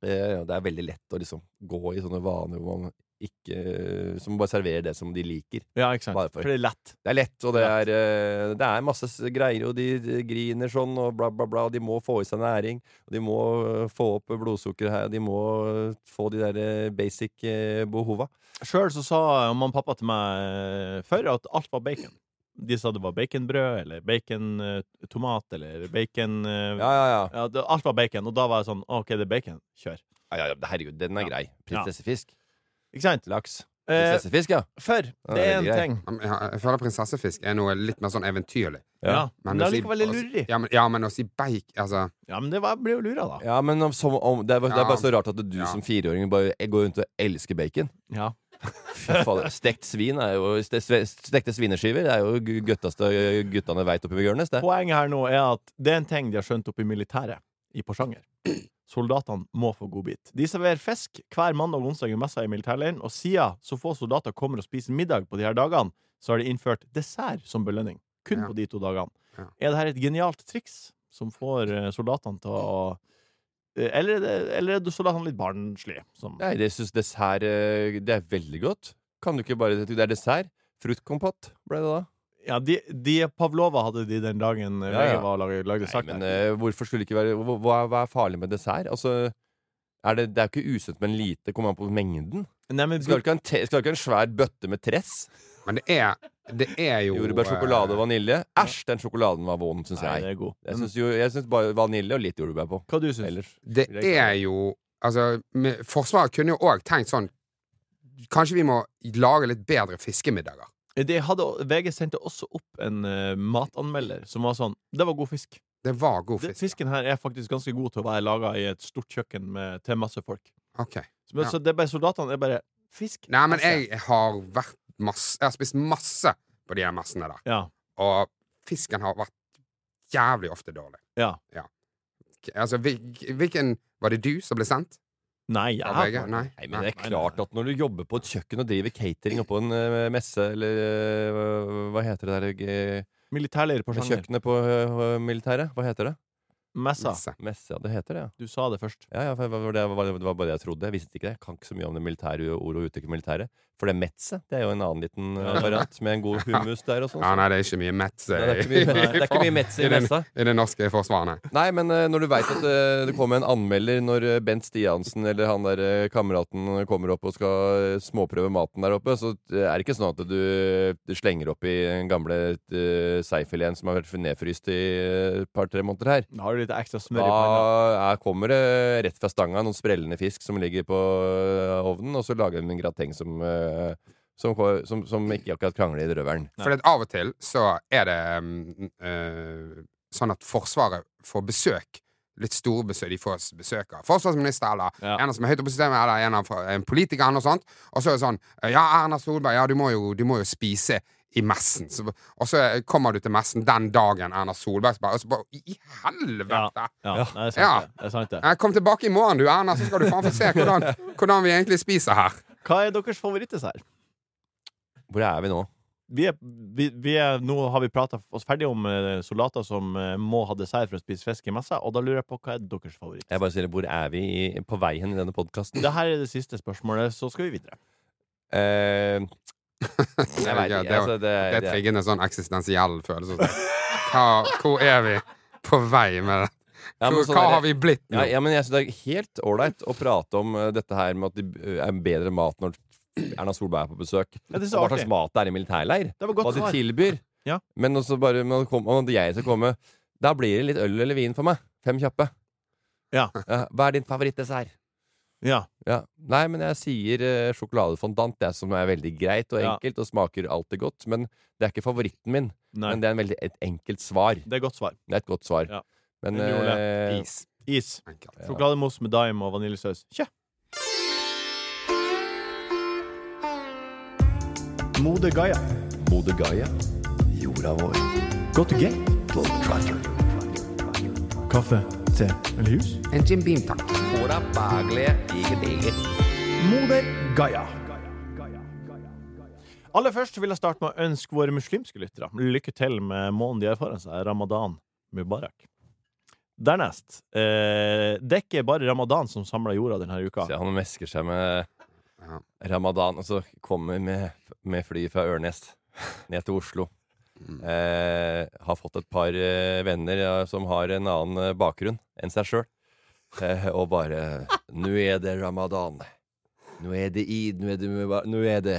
Eh, og det er veldig lett å liksom gå i sånne vaner hvor man ikke Som bare serverer det som de liker.
ja, ikke sant?
Bare for-
For det er lett.
Det er lett, og det
Ja.
er, eh, det er masse s- greier, og de de griner sånn, og bla, bla, bla. og De må få i seg næring, og de må eh, få opp blodsukkeret her, og de må eh, få de der eh, basic eh, behova.
Sjøl så sa mamma og pappa til meg eh, før at alt var bacon. De sa det var baconbrød eller bacontomat eller bacon eh,
Ja, ja, ja.
ja, det, Alt var bacon, og da var jeg sånn OK, det er bacon. Kjør.
ja, ja, ja herregud, den er
Ja.
grei. Prinsessefisk.
Ikke sant?
Laks.
Eh,
Prinsessefisk, ja.
for det
det
er
er
en
greit.
ting.
Ja, men jeg- jeg føler prinsessefisk er noe litt mer sånn eventyrlig.
Ja, men det
å
er
si-
likevel litt
å si-
lureri.
altså, Ja, men, ja, men å si beik Altså,
Ja, men det var, jeg ble jo lura, da.
Ja, men om, som, om, det, er, bare- det er bare så rart at du
Ja.
som fireåring bare går rundt og elsker bacon.
Ja.
Fy fader. Stekt svin er jo ste- sve- Stekte svineskiver er jo gu- gutteste eh, guttene veit oppi Bjørnes, det.
Poenget her nå er at det er en ting de har skjønt oppe i militæret i Porsanger. Soldatene må få godbit. De serverer fisk hver mandag og onsdag i messa i militærleiren, og siden så få soldater kommer og spiser middag på de her dagene, så har de innført dessert som belønning. Kun
Ja.
på de to dagene.
Ja.
Er det her et genialt triks som får eh, soldatene til å eh, eller, er det- eller er det soldatene litt barnslige? Som,
Nei, det syns dessert eh, Det er veldig godt. Kan du ikke bare Det er dessert. Fruktkompott ble det da.
ja, de, de Pavlova hadde de den dagen eh,
Ja, ja.
VG var og lagde, lagde
Nei,
sak
men
der.
eh, hvorfor skulle det ikke være hva, hva- hva er farlig med dessert? Altså er det, det er jo ikke usunt med en lite. Kommer an på mengden.
Nei, men
Du eh, skal jo ikke ha en, te, skal jo ikke ha en svær bøtte med tress.
men det er, det er jo
Jordbær, sjokolade og
eh,
vanilje. Æsj, den sjokoladen var vond, syns
Nei, det
jeg.
er god.
Jeg syns jo- jeg syns bare vanilje og litt jordbær på.
Hva du syns
Ellers
eh, Det
vil jeg ikke ha
er jo Altså, med, Forsvaret kunne jo òg tenkt sånn Kanskje vi må lage litt bedre fiskemiddager?
De Eh, hadde, VG sendte også opp en eh, matanmelder som var sånn Det var god fisk.
Det var god
Den
fisk.
Fisken her er faktisk ganske god til å være laga i et stort kjøkken med, til masse folk.
Ok.
Så, men,
Ja.
så det er bare soldatene er bare Fisk?
Nei, men
Altså,
jeg har vært masse Jeg har spist masse på de her messene der.
Ja.
Og fisken har vært jævlig ofte dårlig.
Ja.
Altså, hvil- hvilken Var det du som ble sendt?
Nei, jeg
Av
har
VG?
fått-
Nei.
Nei, men eh, det er
Nei, nei,
klart at når du jobber på et kjøkken og driver catering oppå en eh, messe, eller eh, hva- hva heter det der eh,
Militærleir på Sjanger.
Kjøkkenet på eh, militæret? Hva heter det?
Messa.
Masse.
Messe, ja. Det heter det, ja.
Du sa det først.
Ja, ja, for det, var, det, var, det var bare det jeg trodde. Jeg visste ikke det. Jeg kan ikke så mye om det militære ordet og uttrykket militære. For det er metze. Det er jo en annen liten eh, variant med en god hummus der og sånn.
Ja, nei, det er ikke mye Metz
Nei, det er
eh,
ikke mye, det er ikke mye metze
i
i
den-
messa.
i det norske forsvaret. nei.
Nei, men eh, når du veit at eh, det kommer en anmelder når eh, Bent Stiansen eller han der eh, kameraten kommer opp og skal eh, småprøve maten der oppe, så eh, er det ikke sånn at du eh, slenger opp i den gamle eh, seigfileten som har vært nedfryst i eh, et par-tre måneder her.
Da har du litt ekstra smør i panna.
Da er, kommer det rett fra stanga noen sprellende fisk som ligger på eh, ovnen, og så lager de en grateng som, eh, som, ko- som, som ikke akkurat krangler i røveren.
For det at av og til så er det mm, eh, sånn at Forsvaret får besøk. Litt store besøk. De får s- besøk av forsvarsminister eller
Ja.
en som er høyt oppe på systemet, eller en, av, fra- en politiker. eller noe sånt. Og så er det sånn eh, Ja, Erna Solberg, ja, du må jo, du må jo spise i messen. Så, og så eh, kommer du til messen den dagen Erna Solberg så bare, og så bare I helvete!
Ja,
Ja.
Nei, det er sant
Ja.
det. det, er sant det.
Eh, Kom tilbake i morgen, du, Erna, så skal du faen få se hvordan, hvordan vi egentlig spiser her.
Hva er deres favorittdessert?
Hvor er vi nå?
Vi er, vi, vi er, nå har vi prata oss ferdig om eh, soldater som eh, må ha dessert for å spise fisk i messa, og da lurer jeg på hva er deres favoritt?
Jeg bare sier hvor er vi i, på vei hen i denne podkasten?
Dette er det siste spørsmålet, så skal vi videre.
Eh, jeg vet ikke.
Ja, det var-
Altså, det,
Det
det,
trigger en sånn eksistensiell følelse. Hva, hvor er vi på vei med det?
Ja, men
Hvor-
sånn
Hva
er
har
det.
vi blitt
ja,
nå?
ja, men jeg synes det er helt ålreit å prate om eh, dette her med at det eh, er bedre mat når Erna Solberg er på besøk.
Ja, det er så
Og Hva
artig.
slags mat det er i militærleir.
Det var
Hva
godt
de
svar.
tilbyr.
Ja.
Men også bare man kom, om at jeg skal komme Da blir det litt øl eller vin for meg. Fem kjappe.
Ja.
Ja, hva er din favorittdessert?
Ja.
Ja. Nei, men jeg sier eh, sjokoladefondant, det som er veldig greit og
Ja.
enkelt og smaker alltid godt. Men det er ikke favoritten min.
Nei.
Men det er en veldig, et enkelt svar.
Det er godt svar.
Det er et godt svar.
Ja.
Men
Den gjorde
eh,
Is.
Is.
enkelt.
Sjokolademousse med daim og vaniljesaus. Kjø! Mode Gaia.
Moder Gaia, jorda vår.
Go to gate. Kaffe, te eller jus?
En Jim Beam, takk.
Moder Gaia. Aller først vil jeg starte med å ønske våre muslimske lyttere lykke til med måneden de har foran seg, ramadan mubarak. Dernest eh, Det er ikke bare ramadan som samler jorda denne uka.
Se, han mesker seg med
Ja.
ramadan, og så kommer med, med fly fra Ørnes ned til Oslo. Eh, har fått et par eh, venner ja, som har en annen eh, bakgrunn enn seg sjøl. Eh, og bare Nå er det ramadan. Nå er det id. Nå er det muba- Nå er det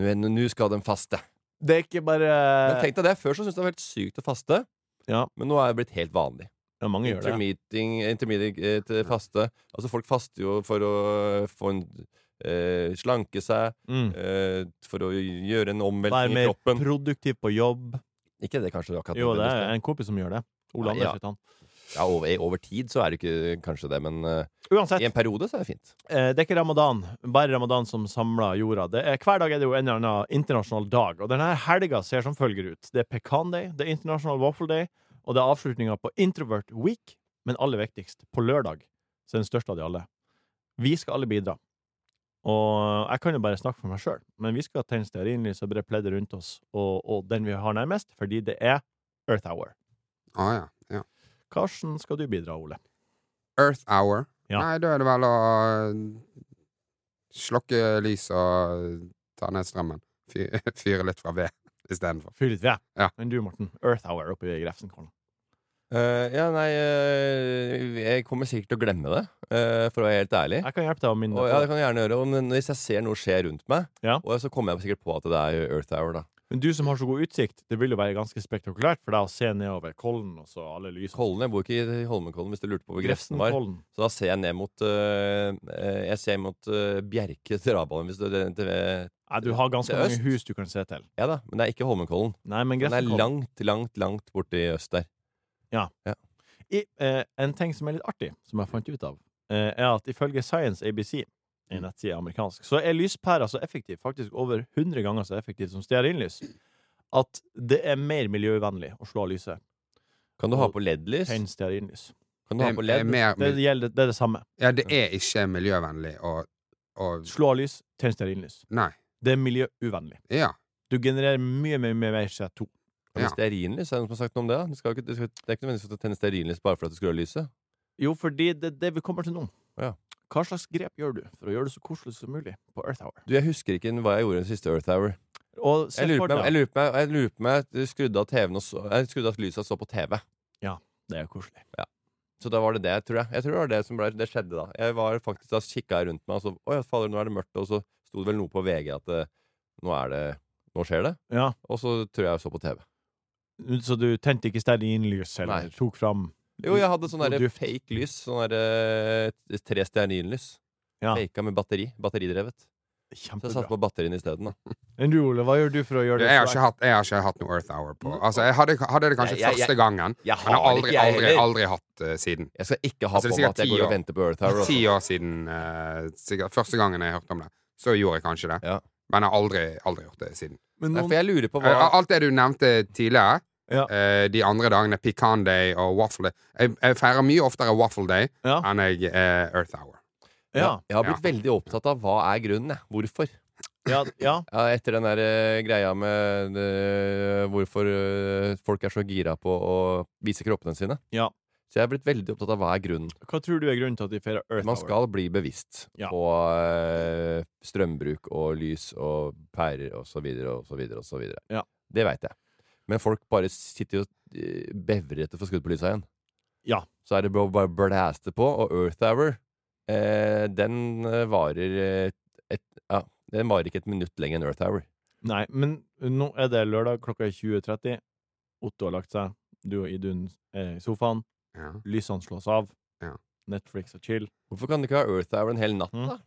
Nå er- nå skal de faste.
Det er ikke bare
Men tenk deg det. Før så syntes jeg det var helt sykt å faste.
Eh. Ja.
Men nå er det blitt helt vanlig.
ja, Mange gjør det.
Intermeeting, intermediate eh, faste. Altså folk faster jo for å få en eh, slanke seg,
Mm.
eh, for å gjøre en
Være
omveltning i
mer
kroppen.
produktiv på jobb.
Ikke det kanskje akkurat
Jo, det
nødvendigvis,
er en kompis som gjør det. Ole
Ja, ja.
Anders heter han.
det. ja, over, over tid så er det ikke kanskje det, men eh,
Uansett,
i en periode så er det fint.
eh, det er ikke ramadan. Bare ramadan som samler jorda. Det er, hver dag er det jo en eller annen internasjonal dag, og denne helga ser som følger ut. Det er pecan day, det er internasjonal waffle day, og det er avslutninga på introvert week, men aller viktigst, på lørdag, så er den største av de alle. Vi skal alle bidra. Og jeg kan jo bare snakke for meg sjøl, men vi skal tenne stearinlys og bre pledder rundt oss, og, og den vi har nærmest, fordi det er Earth Hour.
Ah, ja. Ja.
Karsten, skal du bidra, Ole?
Earth Hour.
Ja.
Nei, da er det vel å øh, slokke lys og eh, ta ned strømmen. Fy- Fyre litt fra ved istedenfor.
Fyr litt ved.
Ja.
Men du, Morten. Earth Hour oppe i Grefsenkollen.
Eh, ja, nei, eh, jeg kommer sikkert til å glemme det, eh, for å være helt ærlig.
Jeg kan hjelpe deg å minne
Og,
deg
ja,
på
det kan jeg gjerne gjøre. Og Hvis jeg ser noe skje rundt meg,
Ja.
og så kommer jeg sikkert på at det er Earth Hour, da.
det. Men du som har så god utsikt, det vil jo være ganske spektakulært for deg å se nedover Kollen og så alle lysene.
Kollen, Jeg bor ikke i Holmenkollen, hvis du lurte på hvor Grefsen var.
Grefsenkollen.
Så da ser jeg ned mot øh, øh, Jeg ser mot øh, Bjerke travbane. Hvis du, det, det,
Nei, du har ganske
Til
mange
øst.
hus du kan se til.
ja da, men det er ikke Holmenkollen.
Nei, men
Den er
Grefsenkollen
langt, langt, langt borte i øst der.
I, eh, en ting som er litt artig, som jeg fant ut av, eh, er at ifølge Science ABC,
Mm.
en nettside amerikansk, så er lyspæra så effektiv, faktisk over 100 ganger så effektiv som stearinlys, at det er mer miljøvennlig å slå av lyset
Kan du ha på LED-lys?
enn stearinlys.
Kan du ha
Det
på
er
ledd?
mer-
Det, gjelder, det er det samme.
Ja, det er ikke miljøvennlig å, å
Slå av lys, tenn stearinlys.
Nei.
Det er miljøuvennlig.
Ja.
Du genererer mye, mye, mye mer CO2.
Men
Ja.
Stearinlys? Er det noen som har sagt noe om det? da? Du skal jo ikke, du skal, det er ikke nødvendigvis at du tenner stearinlys bare for at du skrur av lyset.
Jo, fordi det er det vi kommer til nå.
Ja.
Hva slags grep gjør du for å gjøre det så koselig som mulig på Earth Hour?
Du, Jeg husker ikke hva jeg gjorde den siste Earth Hour.
Og se
Jeg lurer
for
på meg,
deg
jeg lurer på meg, jeg lurer på meg at jeg skrudde av TV-en og så, jeg skrudde av at lyset og så på TV.
Det er koselig.
Så da var det det, tror jeg. Jeg tror det var det som ble, det skjedde da. Jeg var faktisk, da kikka jeg rundt meg, og så Å ja, fader, nå er det mørkt. Og så sto det vel noe på VG at eh, nå er det Nå skjer det.
Ja.
Og så tror jeg jeg så på TV.
Så du tente ikke stearinlys, eller
Nei.
tok fram
Jo, jeg hadde sånn
Og
derre
duft.
fake lys. Sånn derre eh, tre stearinlys.
Ja.
Faka med batteri. Batteridrevet. Så jeg
Kjempebra.
satte på batteriene isteden, da.
Men du, Ole, hva gjør du for å gjøre det?
Jeg har
så
ikke hatt, jeg har ikke hatt noe Earth Hour på Altså, jeg hadde, hadde det kanskje
Nei, jeg- jeg-
første gangen,
Jeg
men har aldri,
jeg
aldri,
heller.
aldri hatt eh, siden.
Jeg skal ikke ha
Altså, det
på meg
er sikkert
at jeg
ti
går og
år.
venter på Earth Hour.
Ti
altså.
år siden eh, sikkert, første gangen jeg hørte om det. Så gjorde jeg kanskje det.
Ja.
Men jeg har aldri, aldri gjort det siden.
Men
Nei,
noen,
for jeg lurer på hva
Eh, Alt det du nevnte tidligere,
Ja.
eh, de andre dagene, pecan day og waffle day jeg, jeg feirer mye oftere waffle day
Ja.
enn jeg eh, Earth Hour.
ja,
Jeg har blitt veldig opptatt av hva er grunnen, jeg. Hvorfor.
ja, ja.
Ja, etter den der eh, greia med eh, hvorfor eh, folk er så gira på å vise kroppene sine.
Ja.
Så jeg er blitt veldig opptatt av hva er grunnen.
Hva tror du er grunnen til at de feirer Earth
Man
Hour?
skal bli bevisst
Ja.
på eh, strømbruk og lys og pærer og så videre og så videre og så videre.
Ja.
Det veit jeg. Men folk bare sitter jo eh, bevrer etter å få skudd på lysa igjen.
Ja.
Så er det bare bare å blæste på, og Earth Hour, eh, den eh, varer eh, et, ja, Den varer ikke et minutt lenger enn Earth Hour.
Nei, men nå er det lørdag klokka er 20.30. Otto har lagt seg. Du og Idun er i sofaen.
Ja.
Lysene slås av.
Ja.
Netflix og chill.
Hvorfor kan du ikke ha Earth Hour en hel natt,
Mm.
da?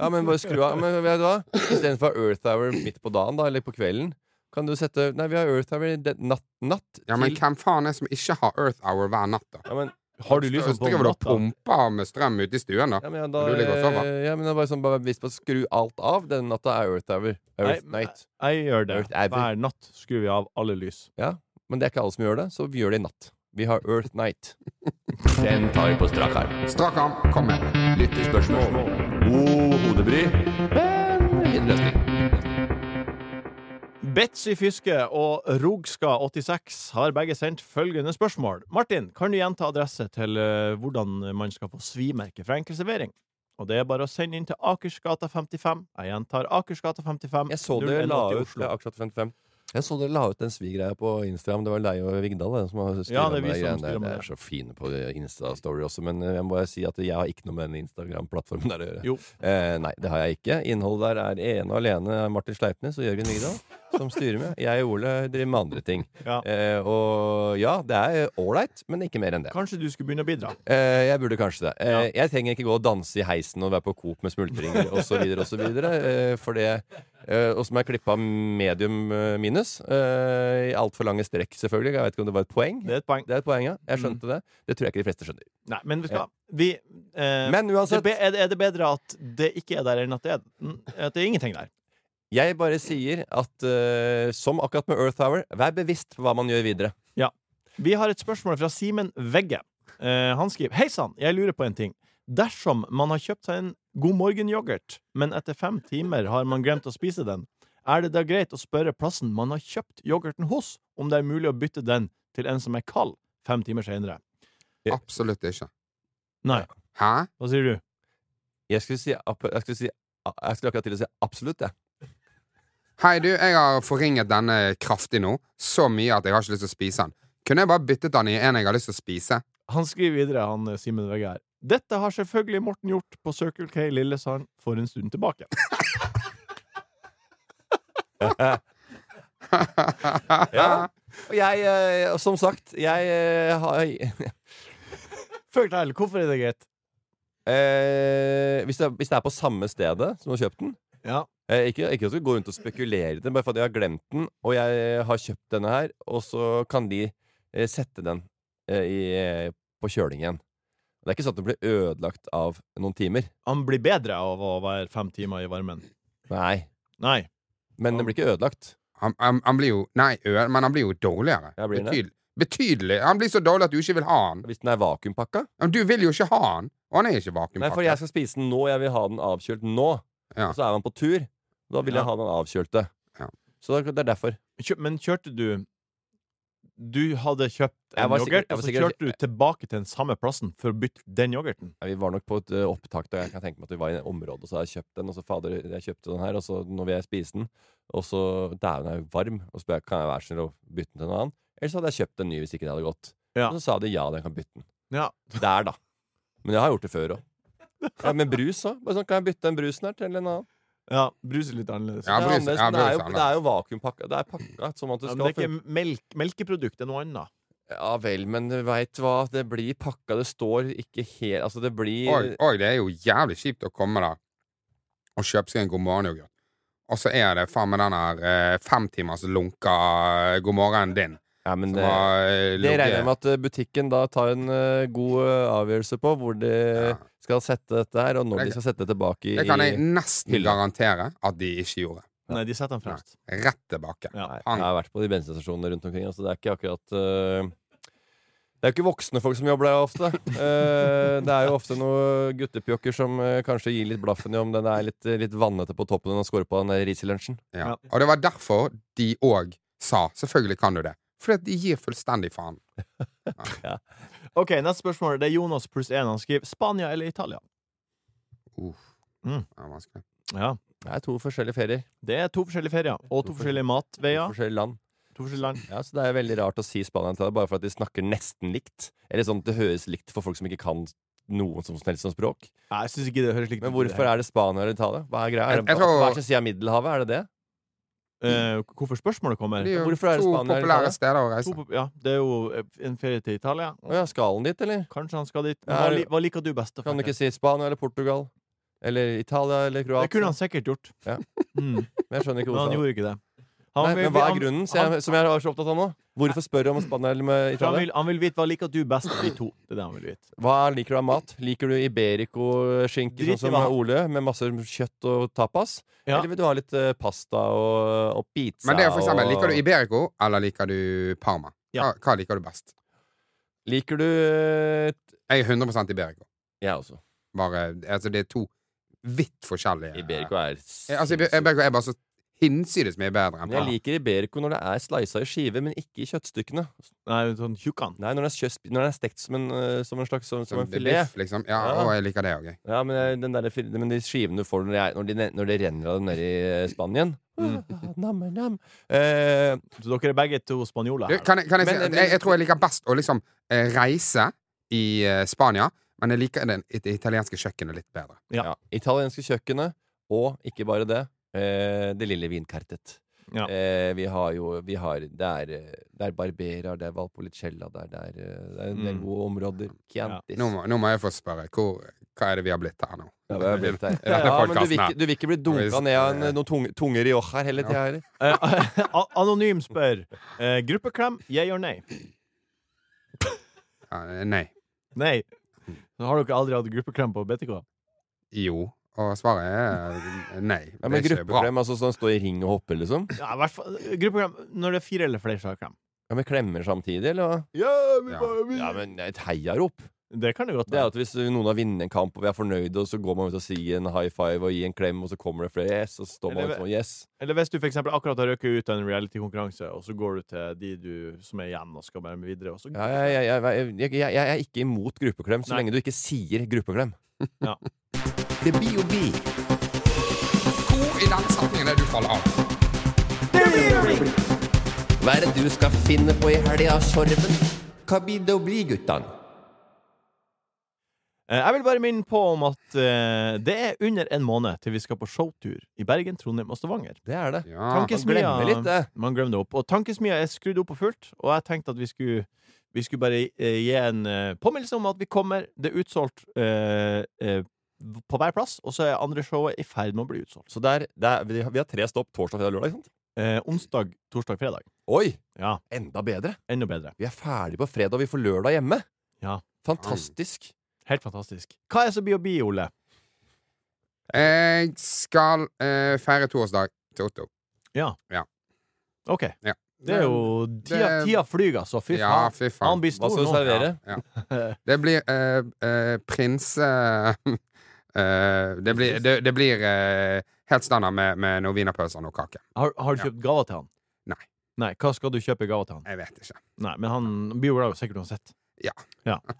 Ja, men bare skru av. Men vet du hva? Istedenfor Earth Hour midt på dagen, da, eller på kvelden, kan du sette Nei, vi har Earth Hour i den- natt, natt
ja, men
til
hvem faen er det som ikke har Earth Hour hver natt, da?
ja, men,
Har du lysene på
Driver du og
natta?
pumper med strøm ute i stuen, da?
ja, men ja, da
Du ligger og sover.
eh, Ja, men det er bare sånn bare bevisst på å skru alt av. Denne natta er Earth Hour. Earth
Nei,
Night.
Jeg gjør det.
Earth Hour.
Hver natt skrur vi av alle lys.
Men det er ikke alle som gjør det, så vi gjør det i natt. Vi har Earth Night. Den tar vi på strak arm.
Strak arm, kom med.
Lyttespørsmål. God hodebry, men ingen løsning.
Betsy Fyske og Rogska86 har begge sendt følgende spørsmål. Martin, kan du gjenta adresse til eh, hvordan man skal få svimerke fra enkeltservering? Og det er bare å sende inn til Akersgata 55. Jeg gjentar Akersgata 55.
Jeg så dere la
0180
ut eh, ja, Aksjat 55. Jeg så dere la ut den svigreia på Instagram. Det var deg og Vigdal det, som har styret
Ja, det er
med
vi
de
som
greiene
styrer
der.
med
Dere er så fine på Insta-story også, men eh, jeg må bare si at jeg har ikke noe med den Instagram-plattformen der å gjøre.
Jo.
Eh, nei, det har jeg ikke. Innholdet der er ene og alene Martin Sleipnes og Jørgen Vigdal som styrer med. Jeg og Ole driver med andre ting.
Ja.
Eh, og ja, det er ålreit, men ikke mer enn det.
Kanskje du skulle begynne å bidra?
Eh, jeg burde kanskje det. Eh, Jeg trenger ikke gå og danse i heisen og være på Coop med smultringer osv. Eh, for det eh, Og som er klippa medium eh, minus. Eh, I altfor lange strekk, selvfølgelig. Jeg vet ikke om det var et poeng.
Det Mm. er et poeng.
Det er et poeng, ja. Jeg skjønte det. Det tror jeg ikke de fleste skjønner.
Nei, men vi skal Vi eh,
Men
det
uansett,
be, er, det- er det bedre at det ikke er der, enn at det er, mm, at det er ingenting der?
jeg bare sier at eh, som akkurat med Earth Hour, vær bevisst på hva man gjør videre.
Vi har et spørsmål fra Simen Vegge. Eh, han skriver Hei sann, jeg lurer på en ting. Dersom man har kjøpt seg en God morgen-yoghurt, men etter fem timer har man glemt å spise den, er det da greit å spørre plassen man har kjøpt yoghurten hos, om det er mulig å bytte den til en som er kald fem timer senere?
Absolutt ikke.
Nei.
Hæ?
Hva sier du?
Jeg skulle, si, ap- jeg skulle, si, jeg skulle akkurat til å si absolutt, jeg.
Hei, du, jeg har forringet denne kraftig nå. Så mye at jeg har ikke lyst til å spise den. Kunne jeg bare byttet den i en jeg har lyst til å spise?
Han skriver videre, han eh, Simen Vegge her. Dette har selvfølgelig Morten gjort på Circle K Lillesand for en stund tilbake.
Ja. Og jeg, eh, som sagt, jeg eh, har
Fortell, hvorfor er det greit?
Eh, hvis, det, hvis det er på samme stedet som du har kjøpt den
Ja.
eh, Ikke, ikke at du går rundt og spekulerer i den, bare for at jeg har glemt den, og jeg har kjøpt denne her, og så kan de eh, sette den eh, i, eh, på kjøling igjen. Det er ikke sånn at den blir ødelagt av noen timer.
Han blir bedre av å være fem timer i varmen.
Nei.
Nei.
Men den blir ikke ødelagt.
Han, han, han blir jo Nei, ø, men han blir jo dårligere.
Ja, blir han det?
Betydelig, Betydelig. Han blir så dårlig at du ikke vil ha han.
Hvis den er vakuumpakka?
Men du vil jo ikke ha han. Og han er ikke
Nei, for jeg
vakuumpakka.
skal spise den nå. Jeg vil ha den avkjølt nå.
Ja.
Og så er man på tur. Da vil jeg ha den avkjølte.
Ja.
Så det er derfor.
Kjø men kjørte du Du hadde kjøpt
Jeg
en
var sikkert-
yoghurt,
jeg var
og så
sikkert-
kjørte du tilbake til den samme plassen for å bytte den yoghurten.
Ja, Vi var nok på et ø, opptak da jeg kan tenke meg at vi var i et område, og så har jeg kjøpt den, og så fader, jeg kjøpte den her, og så nå vil jeg spise den, og så dæven er jo varm, og så spør jeg kan jeg være snill å bytte den til en annen, eller så hadde jeg kjøpt en ny hvis ikke det hadde gått.
Ja.
Og så sa de ja, den kan bytte den.
Ja.
Der, da. Men jeg har gjort det før òg. Ja, men brus òg. Bare sånn, kan jeg bytte den brusen her til en annen?
ja bruset litt annerledes.
Ja,
Det er
brus-
annerledes,
ja,
men det, er
brus
jo,
er
det er jo vakuumpakka. Det er pakka sånn at det
Ja, men
skal
det er ikke melk, melkeprodukt, det er noe annet.
Ja vel, men veit hva, det blir pakka, det står ikke helt Altså, det blir
Og, og det er jo jævlig kjipt å komme der og kjøpe seg en god morgen-yoghurt, og så er det faen meg den her eh, femtimers lunka eh, god morgenen din.
Ja, men
Som
det-
har eh,
Det regner jeg
ligget-
med at eh, butikken da tar en eh, god eh, avgjørelse på hvor de
Ja.
skal sette dette her, og når
Det-
de skal sette det tilbake i
Det kan jeg nesten
hylla.
garantere at de ikke gjorde.
Nei, de setter den fremst.
Rett tilbake.
Ja.
Nei,
Pang.
Jeg har vært på de bensinstasjonene rundt omkring, altså det er ikke akkurat eh, det er jo ikke voksne folk som jobber der ofte. Eh, det er jo ofte noen guttepjokker som eh, kanskje gir litt blaffen i om den er litt, litt vannete på toppen og skårer på den der ris i lunsjen.
Ja.
Ja. Og det var derfor de òg sa 'selvfølgelig kan du det'. Fordi at de gir fullstendig faen.
OK, neste spørsmål. Det er Jonas pluss én. Han skriver Spania eller Italia?
Uff.
Mm.
Det er vanskelig.
Ja.
Det er to forskjellige ferier,
Det er to forskjellige ferier, og to
To
forskjellige
to
matveier.
forskjellige land.
To forskjellige land.
Ja, så Det er jo veldig rart å si Spania til deg bare for at de snakker nesten likt. Eller sånn at det høres likt for folk som ikke kan noen som helst som språk.
Nei, jeg syns ikke det høres likt
Men hvorfor er det Spania eller Italia? Hva er greia? Er
Jeg-
det,
jeg tror-
hva er det som sier Middelhavet? Er det det?
Eh, hvorfor spørsmålet kommer?
Det er jo
Hvorfor er det
to
Spania eller
populære
Italia?
steder å
To
reise.
på, ja, det er jo eh, en ferie til Italia.
Å ja, skal han dit, eller?
Kanskje han skal dit. Men
Ja,
Hva,
er
li
det-
hva liker du best? da,
Kan du ikke
Frank?
si Spania eller Portugal? Eller Italia eller
Det kunne
Kroatia?
han sikkert gjort.
Ja.
Mm,
Men jeg skjønner ikke
men han
hvorfor.
gjorde ikke det. Han
Nei,
vil-
men hva er
han-
grunnen, som
han-
jeg, som jeg er så opptatt av nå? Hvorfor spør du om Spania eller med
for han,
Italia?
vil, han vil vite hva liker du best av de to. Det er det han vil vite.
Hva liker du av mat? Liker du iberico-skinke,
Drit i
sånn som
hva han-
Ole, med masse kjøtt og tapas?
Ja.
Eller vil du ha litt eh, pasta og, og pizza?
Men det er jo for eksempel,
og-
liker du Iberico, eller liker du Parma? Hva,
Ja.
hva liker du best?
Liker du eh, t-
Jeg er 100 Iberico.
Jeg også.
Bare, altså, det er to vidt forskjellige
Iberico er
Eh, Altså, Ibe- Iberico er bare så hinsides mye bedre enn
Men jeg
Parma.
liker Iberico når det er slisa i skive, men ikke i kjøttstykkene.
Nei, sånn tjukkan.
Nei, når det er, kjøs, når det er stekt som en, eh, som en slags som, som
Som
en filet.
biff, liksom. Ja,
Ja.
og jeg liker det òg, jeg.
Ja, men, eh, den der, fil- men de skivene du får når, jeg, når, de, ne- når det renner av dem nede i eh, Spanien
Mm.
Ah, nam, nam. Eh,
Så dere er begge to spanjoler
Du,
her.
Kan, jeg- kan jeg si
Men- eh,
at
men-
jeg, jeg tror jeg liker best å liksom eh, reise i eh, Spania, men jeg liker den, det italienske kjøkkenet litt bedre.
Ja.
ja. Italienske kjøkkenet, og ikke bare det, eh, det lille vinkartet.
Ja.
Eh, vi har jo vi har, det, er, eh, det er Barbera, det er Valpolicella, det er, det er, eh, det er en del
Mm.
gode områder. Chiantis.
Nå må, nå må jeg få spørre hvor, hva er det vi har blitt her nå?
Ja, det har blitt der.
I denne
ja, men du
podcasten
vil,
her.
ikke, du vil ikke bli dunka ned av en, noen tunge, tunge rioja hele tida? eller?
Eh, a- Anonym spør. Eh, gruppeklem, yeah or nay?
Ja, nei.
Nei. Har dere aldri hatt gruppeklem på BTK?
Jo. Og svaret er eh, nei.
Ja,
det
men
er ikke bra.
gruppeklem, altså sånn stå i ring og hoppe, liksom?
Ja, i hvert fall eh, gruppeklem når det er fire eller flere som har klem.
Ja, men Klemmer samtidig, eller hva?
Ja.
Ja, men et heiarop.
Det kan det godt
Det er
være.
at hvis noen har vunnet en kamp, og vi er fornøyde, og så går man ut og sier en high five og gir en klem, og så kommer det flere yes, og så står man
Eller-
sånn yes.
Eller hvis du for eksempel akkurat har røket ut av en reality-konkurranse, og så går du til de du som er igjen, og skal være med videre, og så
Ja, jeg, jeg, jeg, jeg, jeg, jeg, jeg er ikke imot gruppeklem, så
Nei.
lenge du ikke sier gruppeklem.
Det blir jo bi.
Hvor i denne setningen er det du faller av?
Hva er det du skal finne på i helga, Sorven? Hva blir det å bli, guttan?
Eh, Jeg vil bare minne på om at eh, det er under en måned til vi skal på showtur i Bergen, Trondheim og Stavanger.
Det er det.
Ja.
Tankesmia
Man glemmer litt det.
Man glemmer det opp. Og tankesmia er skrudd opp og fullt, og jeg tenkte at vi skulle, vi skulle bare eh, gi en eh, påminnelse om at vi kommer. Det er utsolgt eh, eh, på hver plass, og så er andre showet i ferd med å bli utsolgt.
Så det er, det er, vi har- vi har tre stopp torsdag, fredag, lørdag. ikke sant?
Eh, onsdag, torsdag, fredag.
Oi!
Ja,
Enda bedre.
enda bedre.
Vi er ferdig på fredag, vi får lørdag hjemme.
Ja.
Fantastisk.
Helt fantastisk. Hva er så bi og bi, Ole?
Jeg skal eh, feire toårsdag til Otto.
Ja.
Ja.
OK. Det er jo Tida,
Det-
tida flyr, altså. Fy
Ja,
faen.
fy faen.
Han blir
Hva
stor
skal du
nå.
servere?
Ja. Det blir eh, eh, prinse... eh, det blir, det, det blir eh, helt standard med, med noen wienerpølser og noe kake.
Har, har du
Ja.
kjøpt gaver til han?
Nei.
Nei, Eh. Hva skal du kjøpe i gave til han?
Jeg vet ikke.
Nei, Men han blir jo glad sikkert uansett.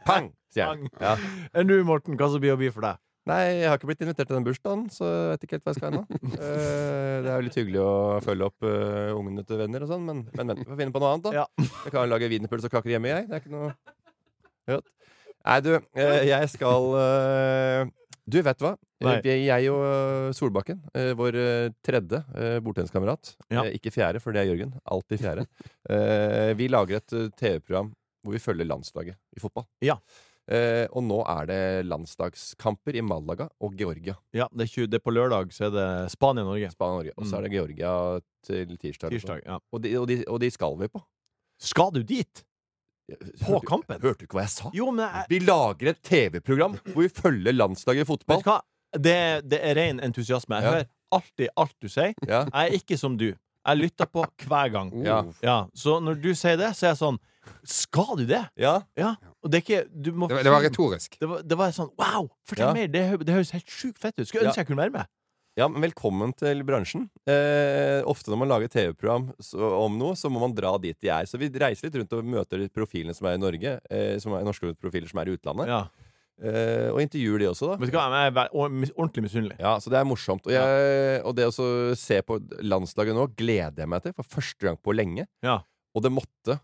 Pang! sier han. Ja.
Enn du, Eh, Morten, hva som blir å by for deg?
Nei, jeg har ikke blitt invitert til den bursdagen, så jeg vet ikke helt hva jeg skal ennå. Eh, det er jo litt hyggelig å følge opp eh, ungene til venner og sånn, men, men, men vi får finne på noe annet, da.
Ja.
Jeg kan lage wienerpølse og kaker hjemme, jeg. Det er ikke noe Jøt. Nei, du, eh, jeg skal eh, Du, vet du hva?
Nei.
Eh, Jeg og eh, Solbakken, eh, vår eh, tredje eh, bordtenniskamerat
Ja.
eh, Ikke fjerde, for det er Jørgen. Alltid fjerde. eh, Vi lager et eh, TV-program hvor vi følger landslaget i fotball.
Ja.
Eh, og nå er det landsdagskamper i Malaga og Georgia.
Ja, det er, tjue- det er på lørdag, så er det Spania-Norge.
Spania-Norge. Og så er det Georgia til tirsdag. eller
Mm. Tirsdag. ja
sånn. Og de, og, de, og de skal vi på.
Skal du dit? På
Hørte-
kampen?
Hørte du ikke hva jeg sa?
Jo, men jeg,
Eh, Vi lager et TV-program hvor vi følger landslaget i
vet
fotball.
du hva? Det, det er ren entusiasme. Jeg
Ja.
hører alltid alt du sier.
Ja.
Jeg er ikke som du. Jeg lytter på hver gang.
Ja.
Ja, så når du sier det, så er jeg sånn Skal du det?
Ja.
Ja. Og det er ikke du må,
Det, var- det var retorisk.
Det var, det var sånn Wow! Fortell
Ja.
mer! Det, hø- det høres helt sjukt fett ut. Skulle
Ja.
ønske jeg kunne være med.
ja, men velkommen til bransjen. Eh, ofte når man lager TV-program så- om noe, så må man dra dit de er. Så vi reiser litt rundt og møter de profilene som er i Norge, eh, som er norske profiler som er i utlandet,
Ja.
eh, og intervjuer de også, da.
Vet du hva, jeg er ve- or- mis- ordentlig misunnelig.
Ja, så det er morsomt. Og, jeg, og det å så se på landslaget nå gleder jeg meg til for første gang på lenge.
Ja.
Og det måtte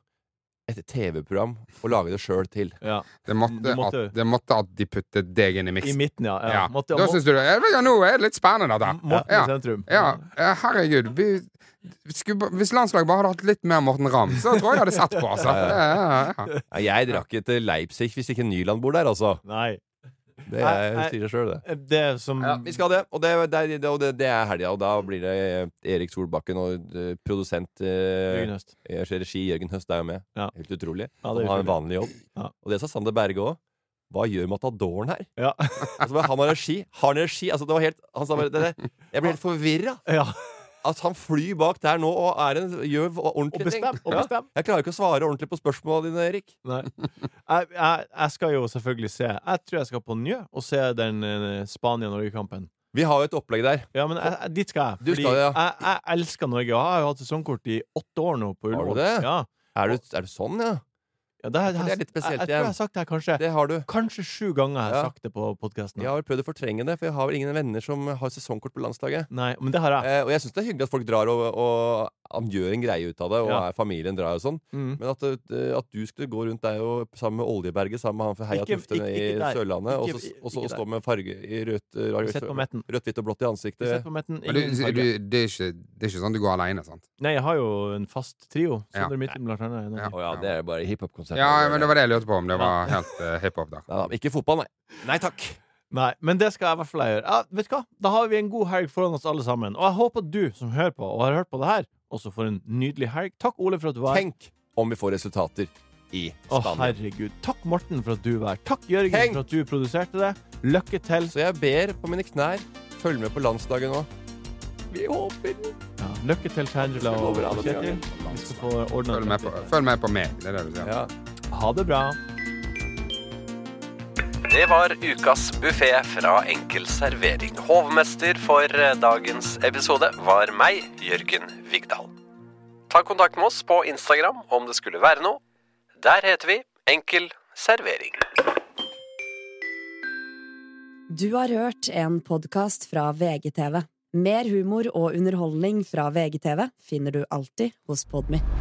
et TV-program å lage det sjøl til.
Ja.
Det måtte,
Du måtte-
At, det måtte at de puttet deg inn i
I
miksen.
midten, ja. ja.
Ja.
Måtte,
Da syns du det jeg vet ikke, Nå er det litt spennende,
M- liksom-
dette.
Morten i
Ja.
sentrum.
Ja, eh, herregud. Vi, skulle, ba- hvis landslaget bare hadde hatt litt mer Morten Ramm, så tror jeg jeg hadde sett på. Altså. Ja, ja, ja.
Ja, jeg drar ikke til Leipzig hvis ikke Nyland bor der, altså.
Nei.
Det
Nei,
er,
nei.
sier det sjøl, det.
Det som
Ja, vi skal det, og det, det, er- det, og det, det er helga. Og da blir det eh, Erik Solbakken og eh, produsent eh,
Jørgen Høst.
Jeg ser regi Jørgen Høst er jo med.
Ja.
Helt utrolig.
Ja, det
han
er
har en
utrolig.
vanlig jobb.
Ja.
Og det sa Sander Berge òg. Hva gjør Matadoren her?
Ja.
Altså, bare, han har regi. Har han regi? Altså, det var helt, han sa bare, det, det, jeg ble helt forvirra.
ja.
At han flyr bak der nå og er en, gjør
Og
ordentlige ting.
bestem. Og
Ja.
bestem.
Jeg klarer ikke å svare ordentlig på spørsmåla dine, Erik.
Nei. Jeg, jeg, jeg skal jo selvfølgelig se Jeg tror jeg skal på Njø og se den eh, Spania-Norge-kampen.
Vi har jo et opplegg der.
Ja, men jeg, jeg, dit skal jeg.
Du skal det, ja.
jeg, jeg elsker Norge. Og jeg har jo hatt sesongkort i åtte år nå. På
Har du
Ullevål.
det?
Ja.
Er du, er du sånn, ja?
Ja, det, har-
For det er litt spesielt
Jeg, jeg tror
igjen.
jeg har sagt det her kanskje
Det har du.
Kanskje sju ganger jeg har
Ja.
sagt det på podkasten.
Jeg har prøvd å fortrenge det, for jeg har vel ingen venner som har sesongkort på landslaget.
Nei, men det har jeg.
Eh, og jeg syns det er hyggelig at folk drar og, og an- gjør en greie ut av det, og
Ja.
er, familien drar og sånn.
Mm.
Men at, eh, at du skulle gå rundt deg og, sammen med Oljeberget, sammen med han fra Heia
Ikke-
Tufte
ikke-
nede
ikke
i
der.
Sørlandet, og så-
Ikke-
og så
ikke
og stå med farge i rødt,
Sett på
rødt,
metten.
rødt, hvitt og blått i ansiktet.
Sett på metten.
eh, Men du,
Ingen
du,
farge.
det, er ikke, det er ikke sånn du går alene, sant?
Nei, jeg har jo en fast trio.
Ja.
Sondre Midtly, blant annet.
Ja.
Ja.
Å ja, det er bare hiphop-konsert.
Ja, men det var det jeg lurte på, om det var helt eh, hiphop der.
Nei da, ikke fotball, nei. Nei takk.
Nei, men det skal jeg i hvert fall gjøre. Ja, vet du hva? Da har vi en god helg foran oss alle sammen. Og jeg håper du som hører på, og har hørt på det her, også får en nydelig helg. Takk, Ole, for at du var her.
Tenk om vi får resultater i
Å,
Spania.
herregud. Takk, Morten, for at du var her. Takk, Jørgen,
Tenk!
for at du produserte det. Lykke til.
Så jeg ber på mine knær, følg med på landsdagen nå. Vi håper
Ja, lykke til, Tangela
Det går
og
bra, det blir
Kjetil. Vi skal få ordna
Følg med på, følg med på meg, det er det du sier.
Ja.
Ha det bra.
Det var ukas buffé fra Enkel servering. Hovmester for eh, dagens episode var meg, Jørgen Vigdal. Ta kontakt med oss på Instagram om det skulle være noe. Der heter vi Enkel servering.
Du har hørt en podkast fra VGTV. Mer humor og underholdning fra VGTV finner du alltid hos Podmy.